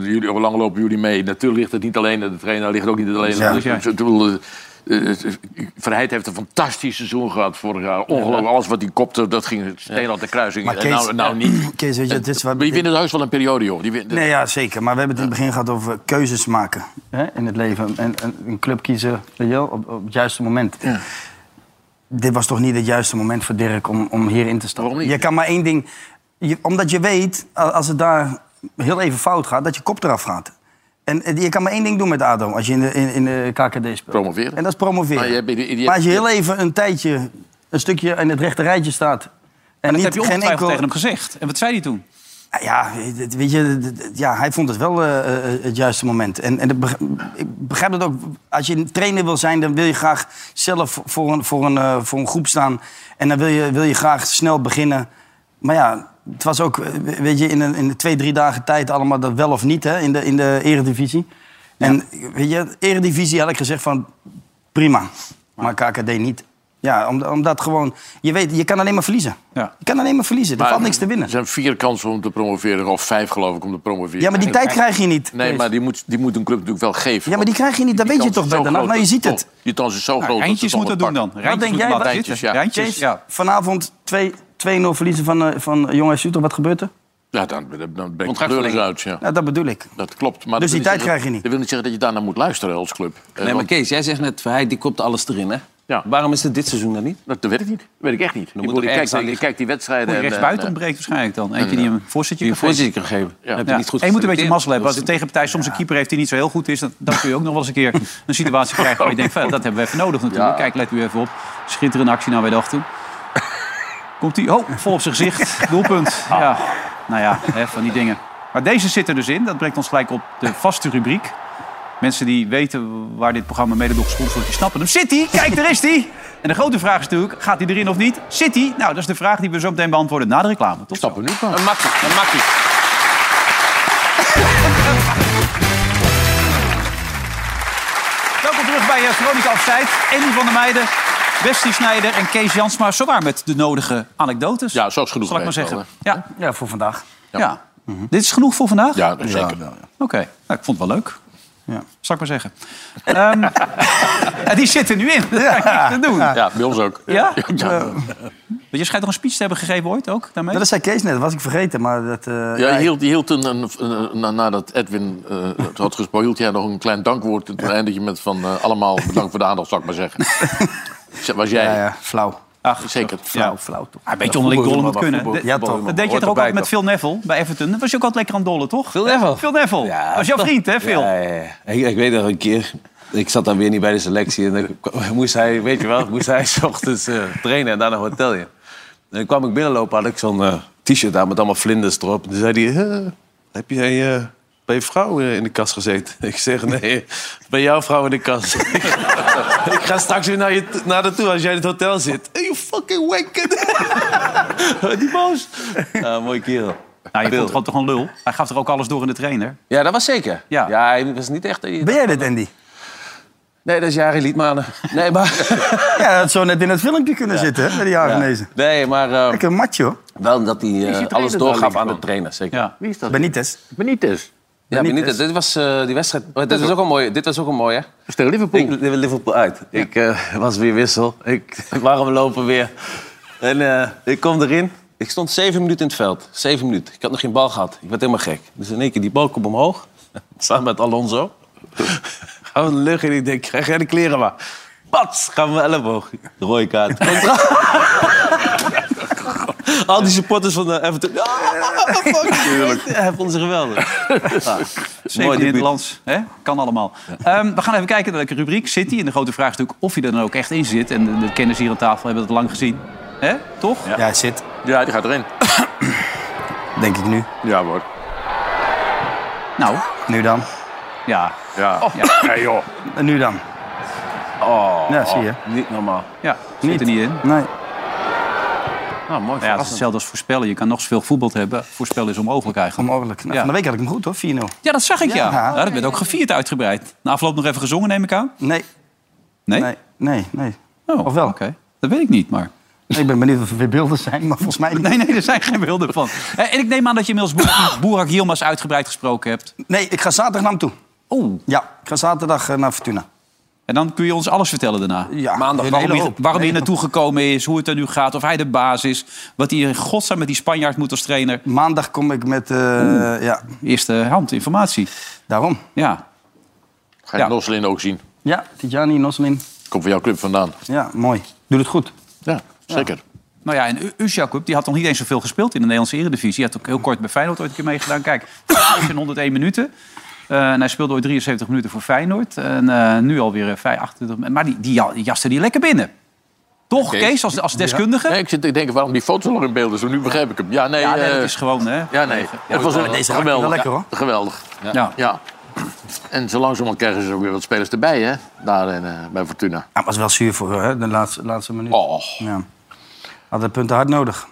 jullie, hoe lang lopen jullie mee? Natuurlijk ligt het niet alleen aan de trainer, ligt het ook niet alleen Ja. aan de ik bedoel, eh, eh, Verheid heeft een fantastisch seizoen gehad vorig jaar. Ongelooflijk, alles wat hij kopte, dat ging steen aan de kruising. Maar En Kees- nou, nou niet. Kees, weet je, het is wat- Maar je vindt het heus wel een periode, joh. Die win- Nee, ja, zeker. Maar we hebben het in het begin gehad over keuzes maken hè, in het leven. En, en een club kiezen weet je wel, op, op het juiste moment. Dit was toch niet het juiste moment voor Dirk om, om hierin te stappen? Je kan maar één ding... je- omdat je weet, a- als het daar heel even fout gaat, dat je kop eraf gaat. En eh, je kan maar één ding doen met ADO als je in de, in, in de KKD speelt. Promoveren. En dat is promoveren. Maar Maar, je hebt- je- je- als je heel je- even een tijdje, een stukje in het rechte rijtje staat... En dat niet, heb je geen ongetwijfeld enkel... tegen hem gezegd. En wat zei hij toen? Nou Ja, dit- weet je, dit- dit- ja, hij vond het wel eh, eh, het juiste moment. En, en dat beg- ik begrijp dat ook. Als je een trainer wil zijn, dan wil je graag zelf voor een, voor een, eh, voor een groep staan. En dan wil je, wil je graag snel beginnen. Maar ja, het was ook, eh, weet je, in, een, in de twee, drie dagen tijd allemaal dat wel of niet hè, in, de, in de eredivisie. En weet je, eredivisie had ik gezegd van prima, maar KKD niet. Ja, om- omdat gewoon, je weet, je kan alleen maar verliezen. Je kan alleen maar verliezen, er Maar valt niks te winnen. Er zijn vier kansen om te promoveren, of vijf geloof ik, om te promoveren. Ja, maar die tijd krijg je niet. Nee, maar die moet, die moet een club natuurlijk wel geven. Ja, maar die krijg je niet. Dat weet je toch bij Den Haag? Nou, je ziet het. Die kans is Nou, zo groot. Eindjes moeten doen dan. Wat denk jij? Eindjes, ja. Kees, Vanavond 2 2-0 verliezen van, eh, van Jong SC Utrecht. Wat gebeurt er? Ja, dan, dan, dan ben ik Contractverlenging. kleur eens uit. Ja. Ja, dat bedoel ik. Dat klopt. Dus Maar dat die wil tijd krijg je zeggen- Dat wil niet zeggen dat je daarna moet luisteren als club. Eh, Nee, maar want- Kees, jij zegt net, hij die kopt alles erin, hè? Waarom is het dit seizoen dan niet? Dat weet ik niet. weet ik echt niet. Dan Ik moet bedoel, er ik, kijk, ergens aan die- ik liggen. kijk die wedstrijden. Goeie en, rechtsbuiten eh, ontbreekt waarschijnlijk dan. Eentje die een voorzitje Die kan een voorzitje geven. kan geven. Ja. Heb je niet goed En je moet een beetje geselecteerd. mazzel hebben. Als de tegenpartij soms een keeper heeft die niet zo heel goed is... dan, dan kun je ook nog wel eens een keer een situatie krijgen... waar je denkt, van, ja, dat hebben we even nodig natuurlijk. Ja. Kijk, let u even op. Schitterende actie naar wij dachten. Komt hij oh, vol op zijn gezicht. Doelpunt. Ah. Ja. Nou ja, hè, van die dingen. Maar deze zit er dus in. Dat brengt ons gelijk op de vaste rubriek. Mensen die weten waar dit programma mede door gesponsord wordt, die snappen hem. City, kijk, daar is hij! En de grote vraag is natuurlijk, gaat hij erin of niet? City, nou, dat is de vraag die we zo meteen beantwoorden na de reclame. Tot Stappen nu Een makkie, een makkie. Welkom terug bij eh, Veronica Offside. Andy van der Meijden, Westie Snijder en Kees Jansma. Zowaar met de nodige anekdotes. Ja, zo is genoeg Zal ik maar geweest zeggen. al, ja. ja, voor vandaag. Ja. Dit is genoeg voor vandaag? Ja, dat is zeker. wel, Oké, nou, ik vond het wel leuk. Zal ik maar zeggen. Ehm, ja, die zit er nu in. Dat is niks te doen. Ja, bij ons ook. Ja? Ja. Eh, Want je schijnt nog een speech te hebben gegeven ooit ook daarmee? Ah, Dat zei Kees net, was ik vergeten. Maar dat, eh, Ja, ja, je hield, je hield een, een, een- na- nadat Edwin eh, het had gesproken, hield jij nog een klein dankwoord. En toen eindig je met van eh, allemaal bedankt voor de aandacht, zou ik maar zeggen. Z- Was jij? Ja, flauw. Ach, zeker. Flauw, flauw toch. Een beetje onderling dollen moet kunnen. Voetbal- Dat- voetbal- Dat voetbal- deed je hoort toch ook erbij, altijd met Phil Neville bij Everton? Dat was je ook altijd lekker aan het dollen, toch? Phil Neville? Phil Neville. Dat was Oh, jouw vriend, hè, Phil? Ja, ja, ja. Ik, ik weet nog een keer. Ik zat dan weer niet bij de selectie. En dan kwam- moest hij, weet je wel, moest hij 's ochtends eh, trainen en daarna een hotelje. En dan kwam ik binnenlopen, had ik zo'n eh, t-shirt aan met allemaal vlinders erop. En toen zei hij, "Eh, heb jij eh, bij je vrouw eh, in de kast gezeten? Ik zeg, nee, bij jouw vrouw in de kast. ik ga straks weer naar, je, t- naar haar toe als jij in het hotel zit. You fucking wicked. Die boos. Ja, mooi kerel. Nou, je Phil. vond gewoon toch een lul? Hij gaf er ook alles door in de trainer? Ja, dat was zeker. Ja, hij was niet echt... eh, Ben jij dit, Andy? Nee, dat is Jari Liedmanen. Nee, maar... dat had zo net in het filmpje kunnen zitten, hè, bij de Jagenezen. Ja. Nee, maar... eh, Lekker matje, hoor. wel omdat hij eh, Is die trainer alles daar doorgaf links aan van? de trainer, zeker. Wie is dat? Benitez. Benitez. Ja, Benitez. Benitez. Dit was eh, die wedstrijd. oh, dit, was ook een mooie, dit was ook een mooie. Tegen Liverpool. Ik, Liverpool uit. Ik eh, was weer wissel. Ik, waarom lopen weer? En eh, ik kom erin. Ik stond zeven minuten in het veld. Zeven minuten. Ik had nog geen bal gehad. Ik werd helemaal gek. Dus in één keer die bal komt omhoog. Samen met Alonso. Gaan we de lucht in. Ik denk, krijg jij de kleren maar. Pats, gaan we mijn elleboog. De rode kaart. Komt eraan. Al die supporters van de Everton. Ah, fuck. Hij vond ze geweldig. Ah, Zeker in het debuut. land. Hè? Kan allemaal. Ehm, we gaan even kijken naar de rubriek City. En de grote vraag is natuurlijk of hij er dan ook echt in zit. En de, de kenners hier aan tafel hebben dat lang gezien. Hè? Toch? Ja, hij zit. Ja, die gaat erin. Denk ik nu. Ja, hoor. Nou, Nu dan. ja. Ja. Ja. Nee, joh. En nu dan. Oh, Ja, zie je. niet normaal. Ja, zit er niet in. Oh. Nee. Nou, mooi. Ja, het is hetzelfde als voorspellen. Je kan nog zoveel voetbal hebben. Voorspellen is onmogelijk eigenlijk. Onmogelijk. Nou, Van de week had ik hem goed, hoor. 4-0. Ja, dat zag ik, ja. Ja. ja. dat werd ook gevierd uitgebreid. Na afloop nog even gezongen, neem ik aan? Nee. Nee? Nee, nee. nee. Oh, of wel? Dat weet ik niet, maar... Ik ben benieuwd of er weer beelden zijn, maar volgens mij niet. Nee, nee, er zijn geen beelden van. Eh, En ik neem aan dat je inmiddels Boer- Boerak Yilmaz uitgebreid gesproken hebt. Nee, ik ga zaterdag naar hem toe. Oeh. Ja, ik ga zaterdag eh, naar Fortuna. En dan kun je ons alles vertellen daarna. Ja, Maandag. een Waarom, hele hij, hoop. waarom hij Hele naartoe gekomen is, hoe het er nu gaat, of hij de baas is. Wat hij in godsnaam met die Spanjaard moet als trainer. Maandag kom ik met... eh, ja. Eerste hand informatie. Daarom. Ja. Ga je Noslin ook zien. Ja, Tijani, Noslin. Komt van jouw club vandaan. Ja, mooi. Doe het goed. Ja, zeker. Nou ja, en U- Usjakup, die had nog niet eens zoveel gespeeld in de Nederlandse Eredivisie. Hij had ook heel kort bij Feyenoord ooit een keer meegedaan. Kijk, hij is in 101 minuten. Eh, en hij speelde ooit 73 minuten voor Feyenoord. En eh, nu alweer eh, vijf- 28. Maar die, die ja- die jaste die lekker binnen. Toch, Kees? Kees, als, als deskundige? Nee, ik zit te denken waarom die foto zo lang in beeld is. maar Nu begrijp ik hem. Ja, nee. Ja, nee, eh, dat is gewoon, hè? Ja, nee. Het was een, Deze raakt geweldig. wel lekker, hoor. Ja, Geweldig. Ja. Ja. En zo langzamerhand krijgen ze ook weer wat spelers erbij, hè? Daar in, eh, bij Fortuna. Ja, was wel zuur voor hè, de laatste, laatste minuut. Oh. Ja. Had de punten hard nodig.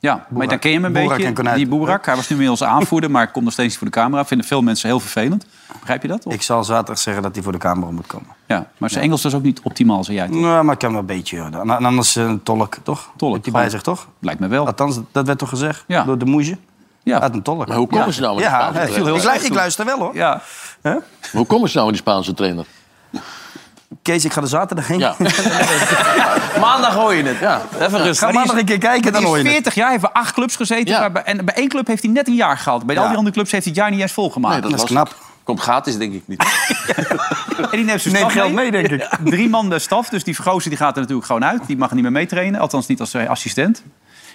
Ja, maar dan ken je hem een Boerak en beetje, Konijn. die Boerak. Hij was nu inmiddels aanvoerder, maar komt nog steeds niet voor de camera. Vinden veel mensen heel vervelend. Begrijp je dat? Of? Ik zal zaterdag zeggen dat hij voor de camera moet komen. Ja, maar zijn Engels is ook niet optimaal, zei jij. Nou, maar ik kan wel een beetje. hoor. En anders eh, een tolk, toch? Tolk. Heeft hij bij gewoon. zich, toch? Lijkt me wel. Althans, dat werd toch gezegd Ja. door de moesje? Ja. Uit een tolk. Maar hoe komen ze nou met die Ja, Spaanse ja, trainer? ik, lu- ik luister wel, hoor. Ja. Hoe komen ze nou met die Spaanse trainer? Kees, ik ga er zaterdag heen. Ja. Maandag hoor je het. Ja. Even rustig. Ga maandag Dus een keer kijken, dan Die hoor is je het. 40 jaar, heeft bij acht clubs gezeten. Ja. Ah, maar bij, en bij één club heeft hij net een jaar gehad. Bij al die andere clubs heeft hij het jaar niet eens volgemaakt. Nee, dat Dat is was knap. Komt gratis, denk ik niet. En die neemt zijn Neemt staf geld mee, denk ik. Drie man de staf, dus die gozer die gaat er natuurlijk gewoon uit. Die mag er niet meer mee trainen, althans niet als eh, assistent.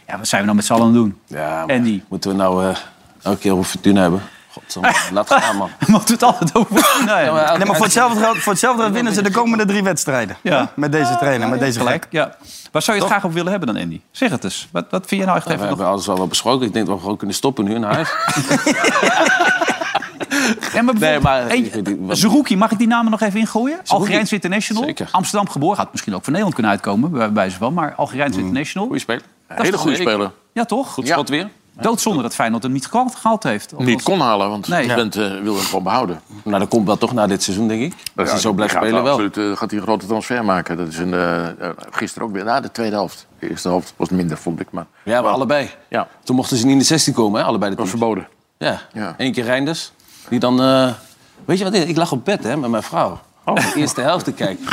Ja, wat zijn we nou met z'n allen aan het doen? Ja, En die. Moeten we nou eh elke keer over fortuna hebben? Godsamme, laat gaan, man. Moet het altijd over nee, Nee, maar voor hetzelfde geld, voor hetzelfde geld winnen ze de komende drie wedstrijden. Ja. Met deze trainer, met deze Gelijk, gek. ja. Waar zou je het graag op willen hebben dan, Andy? Zeg het eens. Wat, wat vind je nou echt Ja, we even nog... hebben alles al wel besproken. Ik denk dat we gewoon kunnen stoppen nu in huis. Ja, maar Nee, maar... Eentje- ik- ik- wat- Zerouki, mag ik die namen nog even ingooien? Algerijns International. Zeker. Amsterdam geboren. Gaat misschien ook voor Nederland kunnen uitkomen, bij wijze van. Maar Mm, Algerijns International. Goeie speler. Hele goede speler. Ja, toch? Goed schot weer. Doodzonde dat Feyenoord hem niet gehaald gehaald heeft. Niet kon halen, want Nee. je bent, eh, wil hem gewoon behouden. Nou, dat komt wel toch na dit seizoen, denk ik. Als hij zo blijft die gaat spelen, wel. Absoluut, eh, gaat hij een grote transfer maken. Dat is een, eh, eh, gisteren ook weer, na de tweede helft. De eerste helft was minder, vond ik. Maar Ja, maar allebei. Ja. Toen mochten ze niet in de 16 komen, hè, allebei de teams. verboden. Ja, Eén keer Reinders. Die dan... eh, Weet je wat? het is? Ik lag op bed hè, met mijn vrouw. Oh. De eerste helft te kijken.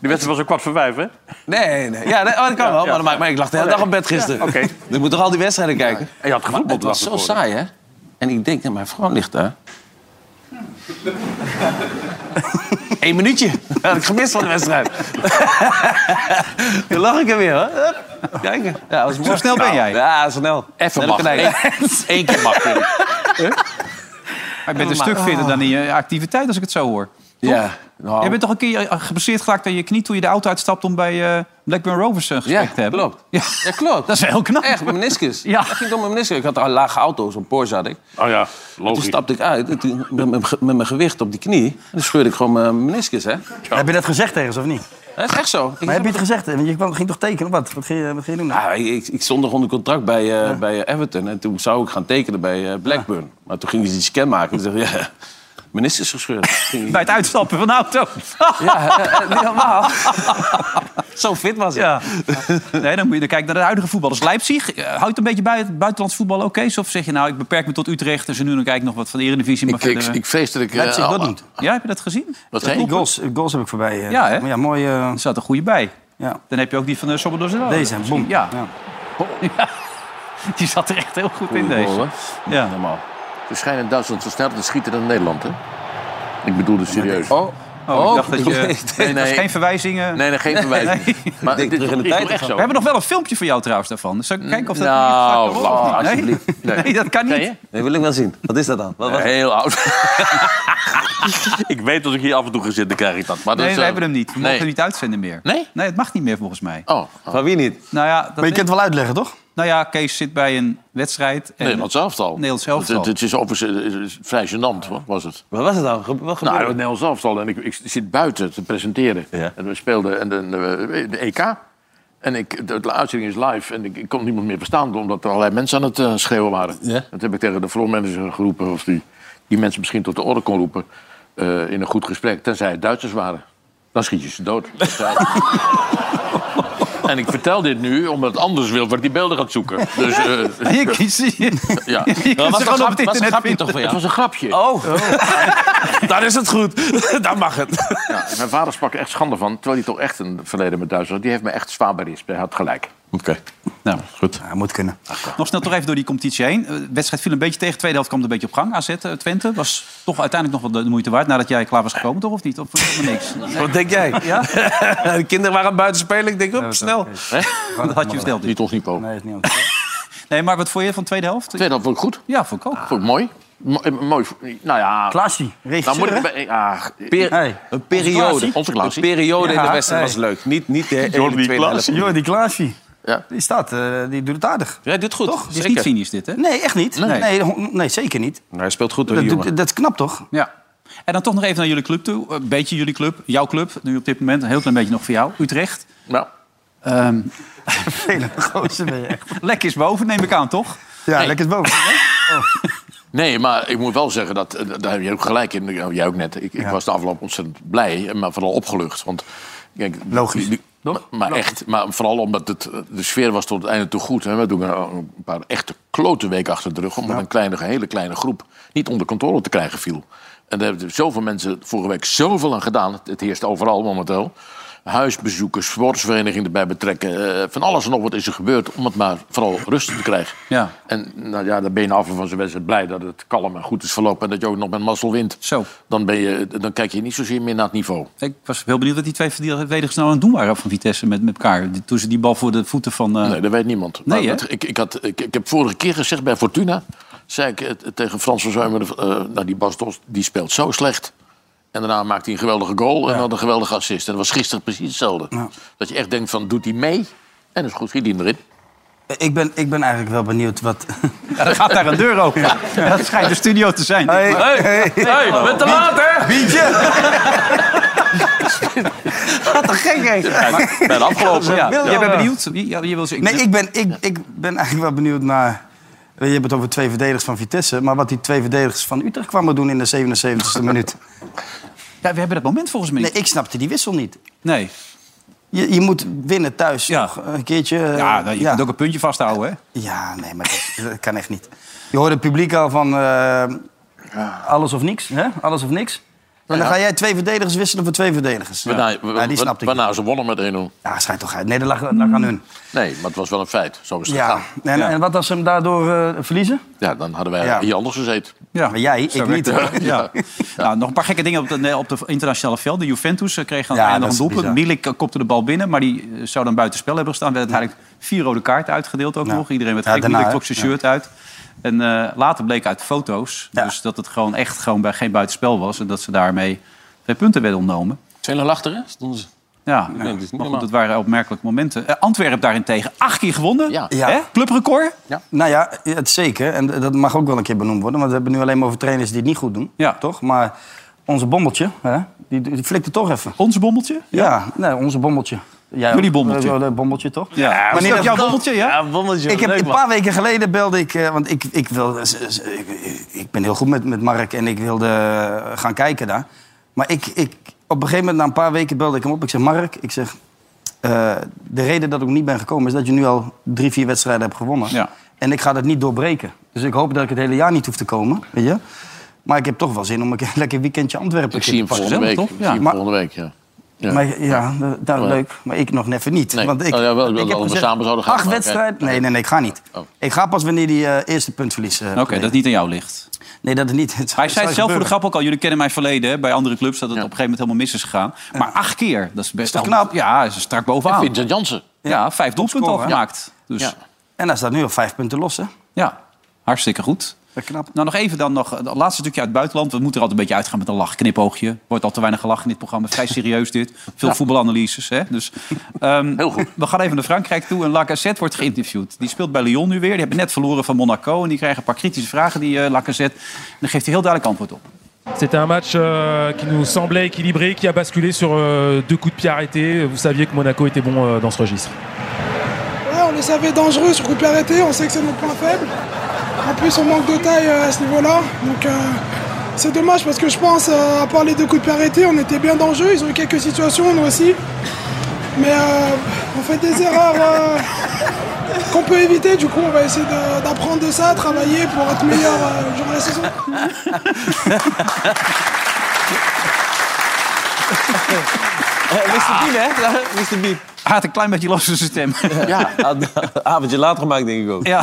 Die wedstrijd was een kwart voor vijf, hè? Nee, nee. Ja, nee, oh, dat kan wel. Maar, dat maakt- maar ik lag de hele dag op bed gisteren. Ja, oké. Je moet toch al die wedstrijden kijken? En je had Maar gevoetbald het was de zo dag ervoor, saai, hè? En ik denk, ja, mijn vrouw ligt daar. Eén minuutje. Dat had ik gemist van de wedstrijd. Dan lag ik er weer, hoor. Hup. Kijken. Ja, dat was mooi. snel ben jij? Ja, snel. Even Net mag. een konijn. Eén keer mag, vind ik. Maar je bent een Maar- stuk fitter Ah. dan in je activiteit, als ik het zo hoor. Toch? Ja. nou, Jij bent toch een keer eh, geblesseerd geraakt aan je knie... toen je de auto uitstapt om bij eh Blackburn Rovers een gesprek te hebben? klopt. Ja. klopt. Dat is heel knap. Echt, mijn meniscus. Ja. Dat ging door mijn meniscus. Ik had een lage auto, zo'n Porsche had ik. Oh ja, En Toen logisch. stapte ik uit en toen, met, mijn ge- met mijn gewicht op die knie. En dan scheurde ik gewoon mijn meniscus, hè. Heb je dat gezegd tegen ze of niet? Dat is echt zo. Ik Maar heb je het gezegd? Want je kwam, ging toch tekenen? Wat, wat, ging, je- wat ging je doen? Ja, ik, ik, ik stond nog onder contract bij, eh, bij eh, Everton. En toen zou ik gaan tekenen bij eh, Blackburn. Maar toen gingen ze die scan maken. Toen dacht ik, ja, meniscus gescheurd. Ging- Bij het uitstappen van de auto. ja, eh, eh, niet normaal. Zo fit Ah, was ik. Ja. Nee, dan moet je kijken naar de huidige voetballers. Leipzig, eh, houdt een beetje buiten, buitenlands voetbal oké? Of zeg je nou, ik beperk me tot Utrecht... en ze nu dan kijk ik nog wat van de Eredivisie. Maar Ik- ik- verder, eh, ik vrees dat ik, eh, Leipzig dat al- doet. Ja, heb je dat gezien? Wat Die goals, goals heb ik voorbij. eh. Ja, hè? Ja, mooi. eh, Er zat een goede bij. Ja. Dan heb je ook die van eh, de Sobodos. Deze, boem. Ja. Ja. Die zat er echt heel goed in, Goeie deze. goal, Ja. Normaal. Ze schijnen in Duitsland zo sneller te schieten dan in Nederland, hè? Ik bedoel het serieus. Oh, Oh, ik dacht dat je... Nee, Nee, nee. dat was geen verwijzingen. Nee, nee, geen verwijzing. Maar dit is toch echt We zo. hebben nog wel een filmpje van jou trouwens daarvan. Dus kijken of dat... Nou, niet Lars, vaker wordt. Nee? alsjeblieft. Nee. Nee, dat kan niet. Nee, wil ik wel zien. Wat is dat dan? Wat was het? Heel oud. Ik weet dat ik hier af en toe ga zitten, krijg ik dat. Maar Nee, dat we hebben hem niet. We mogen nee. hem niet uitzenden meer. eh, Nee? Nee, het mag niet meer volgens mij. Oh. Van wie niet? Nou ja, dat Maar je kunt het wel uitleggen, toch? Nou ja, Kees zit bij een wedstrijd. En... Nederlands elftal. Nederlands elftal. Het, het is overigens eh, het is vrij gênant, hoor, was het. Wat was het dan? Ge- Wat Nou, gebeurde het er? Nederlands elftal. En ik, ik zit buiten te presenteren. En we speelden en de, de, de EK. En ik, de, de uitzending is live en ik, ik kon niemand meer verstaan... omdat er allerlei mensen aan het eh, schreeuwen waren. Ja. Dat heb ik tegen de floormanager geroepen... of die, die mensen misschien tot de orde kon roepen eh, in een goed gesprek... tenzij het Duitsers waren. Dan schiet je ze dood. Dat zei ik. en ik vertel dit nu omdat anders wil waar die beelden gaat zoeken. Dus, eh, Je kiest je. ja. kunt ze gewoon op het internet vinden. Het was een grapje. Oh. Oh. Dan is het goed. Dan mag het. Ja, mijn vader sprak er echt schande van, terwijl hij toch echt een verleden met Duitsland had. Die heeft me echt zwaar berispt. Hij had gelijk. Oké. Nou, goed. Ja, moet kunnen. Nog snel toch even door die competitie heen. Eh, De wedstrijd viel een beetje tegen. Tweede helft kwam het een beetje op gang. AZ eh, Twente was toch uiteindelijk nog wel de moeite waard... nadat jij klaar was gekomen, toch? Of niet? Of helemaal niks? Wat denk jij? Ja? De kinderen waren buiten spelen. Ik denk, op, Ah, snel. Dat had je verteld. Niet ons niveau. Nee, is niet Nee, maar wat vond je van de tweede helft? Tweede helft vond ik goed. Ja, vond ik ook. Ah. Vond ik mooi. Mo- eh, mooi. Nou ja... Klaasie, Nou regisseur, moet ik... hè? bij- ah, Per- Hey. Een periode. Onze Klaasie. Een periode in de Ja, wedstrijd hey. was leuk. Niet, niet de hele tweede helft. Jordi Klaasie. Ja. Die staat, eh, die doet het aardig. Jij doet goed. Toch? Het is Zeker. niet cynisch dit, hè? Nee, echt niet. Nee. Nee, nee, hon- nee, zeker niet. Nou, hij speelt goed hoor, Dat, die doet- jongen. dat is knap, toch? Ja. En dan toch nog even naar jullie club toe. Eh, Een beetje jullie club. Jouw club. Nu op dit moment een heel klein beetje nog voor jou. Utrecht. Nou, Ehm Vele gozer ben je echt. lek is boven, neem ik aan, toch? Ja, lekker boven. nee, maar ik moet wel zeggen, dat, eh, daar heb je ook gelijk in. Nou, Jij ook net. Ik, ik was de afloop ontzettend blij, maar vooral opgelucht. Want, kijk, Logisch. die- Maar, maar echt, maar vooral omdat het, eh, de sfeer was tot het einde toe goed. Hè. We doen een paar echte klote weken achter de rug... omdat een kleine, hele kleine groep niet onder controle te krijgen viel. En daar hebben zoveel mensen vorige week zoveel aan gedaan. Het, het heerst overal momenteel. huisbezoekers, sportsverenigingen erbij betrekken. Eh, van alles en nog wat is er gebeurd om het maar vooral rustig te krijgen. Ja. En nou ja, dan ben je na afloop van zo'n wedstrijd blij dat het kalm en goed is verlopen... en dat je ook nog met mazzel wint. Zo. Dan, ben je, dan kijk je niet zozeer meer naar het niveau. Ik was heel benieuwd wat die twee verdedigers nou aan het doen waren van Vitesse met, met elkaar. Die- Toen ze die bal voor de voeten van... eh, Nee, dat weet niemand. Nee, Maar hè? dat- ik, ik, had, ik, ik heb vorige keer gezegd bij Fortuna... zei ik eh, tegen Frans van Zuimer... eh, nou, die Bas Dost, die speelt zo slecht. En daarna maakt hij een geweldige goal en had een geweldige assist. En dat was gisteren precies hetzelfde. Dat je echt denkt van, doet hij mee? En is goed, schiet hij hem erin. Ik ben, ik ben eigenlijk wel benieuwd wat... Ja, er gaat daar een deur open. Dat schijnt de studio te zijn. Hey, Maar- hey, hey, Oh. we te laat, hè? Bietje. Wat een gek, hè? Ja, maar- Maar- bijna afgelopen. Ja, Ja. Jij bent benieuwd? Je, je wil zeggen- Nee, ik ben, ik, ik ben eigenlijk wel benieuwd naar... Je hebt het over twee verdedigers van Vitesse... maar wat die twee verdedigers van Utrecht kwamen doen in de 77e minuut. Ja, we hebben dat moment volgens mij Nee, ik snapte die wissel niet. Nee. Je, je moet winnen thuis toch? Een keertje... eh, Ja, nou, je kunt ook een puntje vasthouden, hè? Ja, nee, maar dat, dat kan echt niet. Je hoorde het publiek al van eh, alles of niks. Hè? Alles of niks. En dan Ja. ga jij twee verdedigers wisselen voor twee verdedigers. Waarna, Ja, die snapte ik. waarna ze wonnen met 1-0. Ja, schijnt toch uit. Nee, dat lag, dat lag aan hun. Nee, maar het was wel een feit. Zo is het Ja. gegaan. En, en wat als ze hem daardoor eh, verliezen? Ja, dan hadden wij Ja. hier anders gezeten. Ja. Maar jij, ik niet. Ja. hoor. Ja. Nou, nog een paar gekke dingen op de, op de internationale veld. De Juventus eh, kreeg aan Ja, het einde dat nog is een doelpunt. bizar. Milik eh, kopte de bal binnen, maar die eh, zou dan buitenspel hebben gestaan. Werd uiteindelijk vier rode kaarten uitgedeeld ook Ja. nog. Iedereen werd Ja, gek. daarna, Milik hè? trok zijn shirt uit. En eh, later bleek uit foto's dus dat het gewoon echt gewoon bij geen buitenspel was. En dat ze daarmee twee punten werden ontnomen. 2-0 achteren stonden ze. Ja, nou, dat is niet maar goed, normaal. het waren opmerkelijke momenten. Eh, Antwerpen daarentegen acht keer gewonnen. Ja. Hè? Clubrecord. Nou ja, het zeker. En dat mag ook wel een keer benoemd worden. Want we hebben nu alleen maar over trainers die het niet goed doen. Toch? Maar onze bommeltje, hè? Die, die flikte toch even. Onze bommeltje? Ja, nee, onze bommeltje. Jij Jullie ook. bommeltje. Eh, eh, bommeltje, toch? Ja, Maar is niet dat dat- jouw bommeltje, ja? Ja, bommeltje. Ik heb een paar weken geleden belde ik, eh, want ik, ik, wil, z- z- ik, ik ben heel goed met, met Mark en ik wilde eh, gaan kijken daar. Maar ik, ik, op een gegeven moment, na een paar weken belde ik hem op. Ik zeg, Mark, ik zeg, eh, de reden dat ik niet ben gekomen is dat je nu al drie, vier wedstrijden hebt gewonnen. Ja. En ik ga dat niet doorbreken. Dus ik hoop dat ik het hele jaar niet hoef te komen, weet je. Maar ik heb toch wel zin om een keer- lekker weekendje Antwerpen Ik te zie hem pakken. volgende week. Ik zie Ja, hem maar, volgende week, ja. ja. Maar, ja, dat- dat Ja. leuk. Maar ik nog even niet. Nee. Want ik, Oh ja, wel, ik wilde heb dat we gezegd, samen zouden gaan, Acht maar Oh. oké. wedstrijden? Nee, nee, nee, ik ga niet. Ik ga pas wanneer die eh, eerste puntverlies... eh, Oké, dat niet aan jou ligt. Nee, dat is niet. Het zou- Hij zei zou het zelf voor de gebeuren. grap ook al. Jullie kennen mijn verleden hè, bij andere clubs. Dat het op een gegeven moment helemaal mis is gegaan. Maar acht keer, dat is best toch al- knap? Ja, is strak bovenaan. En Vincent Jansen. Ja, vijf doelpunten al Topscorer, hè? gemaakt. Dus ja. En hij staat nu op vijf punten los, hè? hartstikke goed. Dat is knap. Nou, nog even dan nog het laatste stukje uit het buitenland. We moeten er altijd een beetje uitgaan met een lachknipoogje. Wordt al te weinig gelachen in dit programma. Vrij serieus dit. Veel voetbalanalyses. Hè? Dus, Heel goed. We gaan even naar Frankrijk toe. En Lacazette wordt geïnterviewd. Die speelt bij Lyon nu weer. Die hebben net verloren van Monaco. En die krijgen een paar kritische vragen, die eh, Lacazette. En daar geeft hij heel duidelijk antwoord op. C'était un match euh, qui nous semblait équilibré, qui a basculé sur euh, deux coups de pied arrêtés. Vous saviez que Monaco était bon euh, dans ce registre. Ouais, on les savait dangereux sur coup de pied arrêté, on sait que c'est notre point faible. En plus, on manque de taille euh, à ce niveau-là. Donc, euh, c'est dommage parce que je pense, euh, à part les deux coups de pied arrêtés, on était bien dangereux. Ils ont eu quelques situations, nous aussi. Mais euh, on fait des erreurs euh, qu'on peut éviter. Du coup, on va essayer de- d'apprendre de ça, travailler pour être meilleur euh, durant la saison. Mr. Eh, Bean, hè? Mr. Bean. Hij had een klein beetje los van zijn stem. Ja, avondje later gemaakt denk ik ook. Ja,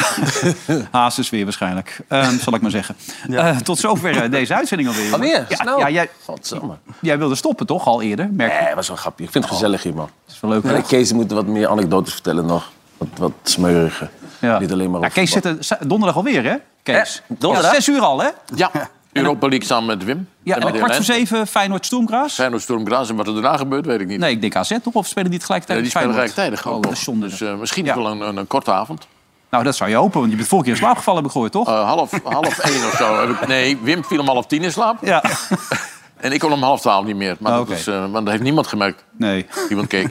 hazes weer waarschijnlijk. Ehm, zal ik maar zeggen. Eh, tot zover eh, deze uitzending alweer. jongen. Alweer? Ja, Snel? ja, jij, Godsamme. jij wilde stoppen toch al eerder? Merk ik. Nee, was wel grappig. Ik vind Eh, het gezellig hier, man. is wel leuk, Ja, hè? Kees moet wat meer anekdotes vertellen nog. Wat, wat smeuriger. Ja. Niet alleen maar Ja, over Kees zit voetbal. er z- donderdag alweer, hè? Kees. Eh, donderdag? Ja, zes uur al, hè? Ja, Europa League samen met Wim. Ja, en dan kwart voor zeven. zeven Feyenoord Stoemgraas. Feyenoord Sturm Graz en wat er daarna gebeurt, weet ik niet. Nee, ik denk AZ toch? Of spelen die het Nee, gelijktijdig die spelen Feyenoord? gelijktijdig Oh, ook. dat nog. is zonde. dus eh, misschien is wel een, een, een korte avond. eh, Nou, dat zou je hopen, want je bent vorige keer in slaap gevallen, heb ik gehoord, toch? Oh. Eh, half, half één of zo. Heb ik, nee, Wim viel om half tien in slaap. Ja. En ik kon om half twaalf niet meer. Maar Oh, dat oké. is, eh, want dat heeft niemand gemerkt. Nee. Niemand keek.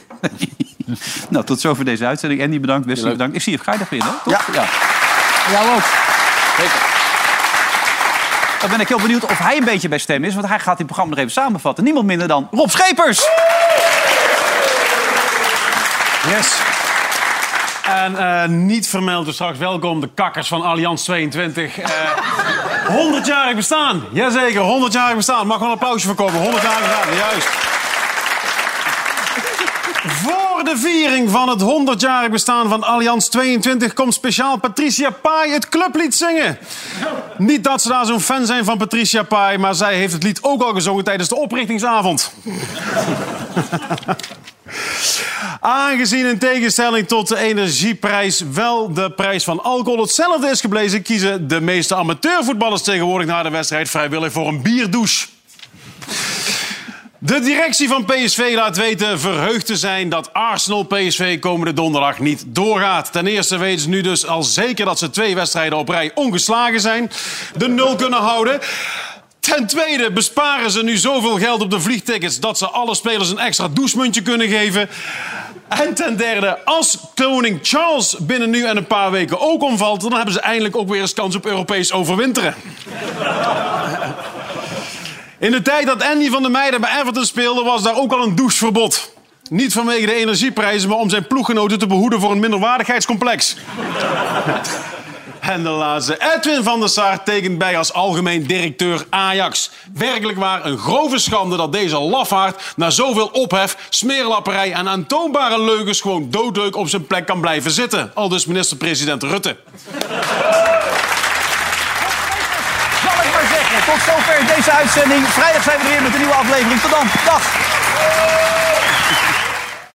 Nou, tot zover deze uitzending. Andy bedankt, Wesley Leuk. bedankt. Ik zie je vrijdag weer, hè? Toch? Ja. Jou ook. Dan ben ik heel benieuwd of hij een beetje bij stem is. Want hij gaat dit programma nog even samenvatten. Niemand minder dan Rob Schepers. Yes. En eh, niet vermeld, dus straks welkom de kakkers van Allianz 22. Eh 100-jarig bestaan. Jazeker, 100-jarig bestaan. Mag wel een applausje voor komen. 100-jarig bestaan, juist. Voor de viering van het 100-jarig bestaan van Allianz 22 komt speciaal Patricia Pai het clublied zingen. Niet dat ze daar zo'n fan zijn van Patricia Pai, maar zij heeft het lied ook al gezongen tijdens de oprichtingsavond. Aangezien in tegenstelling tot de energieprijs wel de prijs van alcohol hetzelfde is geblezen, kiezen de meeste amateurvoetballers tegenwoordig na de wedstrijd vrijwillig voor een bierdouche. De directie van PSV laat weten verheugd te zijn dat Arsenal-PSV komende donderdag niet doorgaat. Ten eerste weten ze nu dus al zeker dat ze twee wedstrijden op rij ongeslagen zijn, de nul kunnen houden. Ten tweede besparen ze nu zoveel geld op de vliegtickets dat ze alle spelers een extra douchemuntje kunnen geven. En ten derde, als koning Charles binnen nu en een paar weken ook omvalt, dan hebben ze eindelijk ook weer eens kans op Europees overwinteren. In de tijd dat Andy van der Meijden bij Everton speelde, was daar ook al een doucheverbod. Niet vanwege de energieprijzen, maar om zijn ploeggenoten te behoeden voor een minderwaardigheidscomplex. En de laatste, Edwin van der Sar tekent bij als algemeen directeur Ajax. Werkelijk waar een grove schande dat deze lafaard na zoveel ophef, smeerlapperij en aantoonbare leugens gewoon doodleuk op zijn plek kan blijven zitten. Al dus minister-president Rutte. Zal ik maar zeggen. Tot zover deze uitzending. Vrijdag zijn we er weer met een nieuwe aflevering. Tot dan. Dag.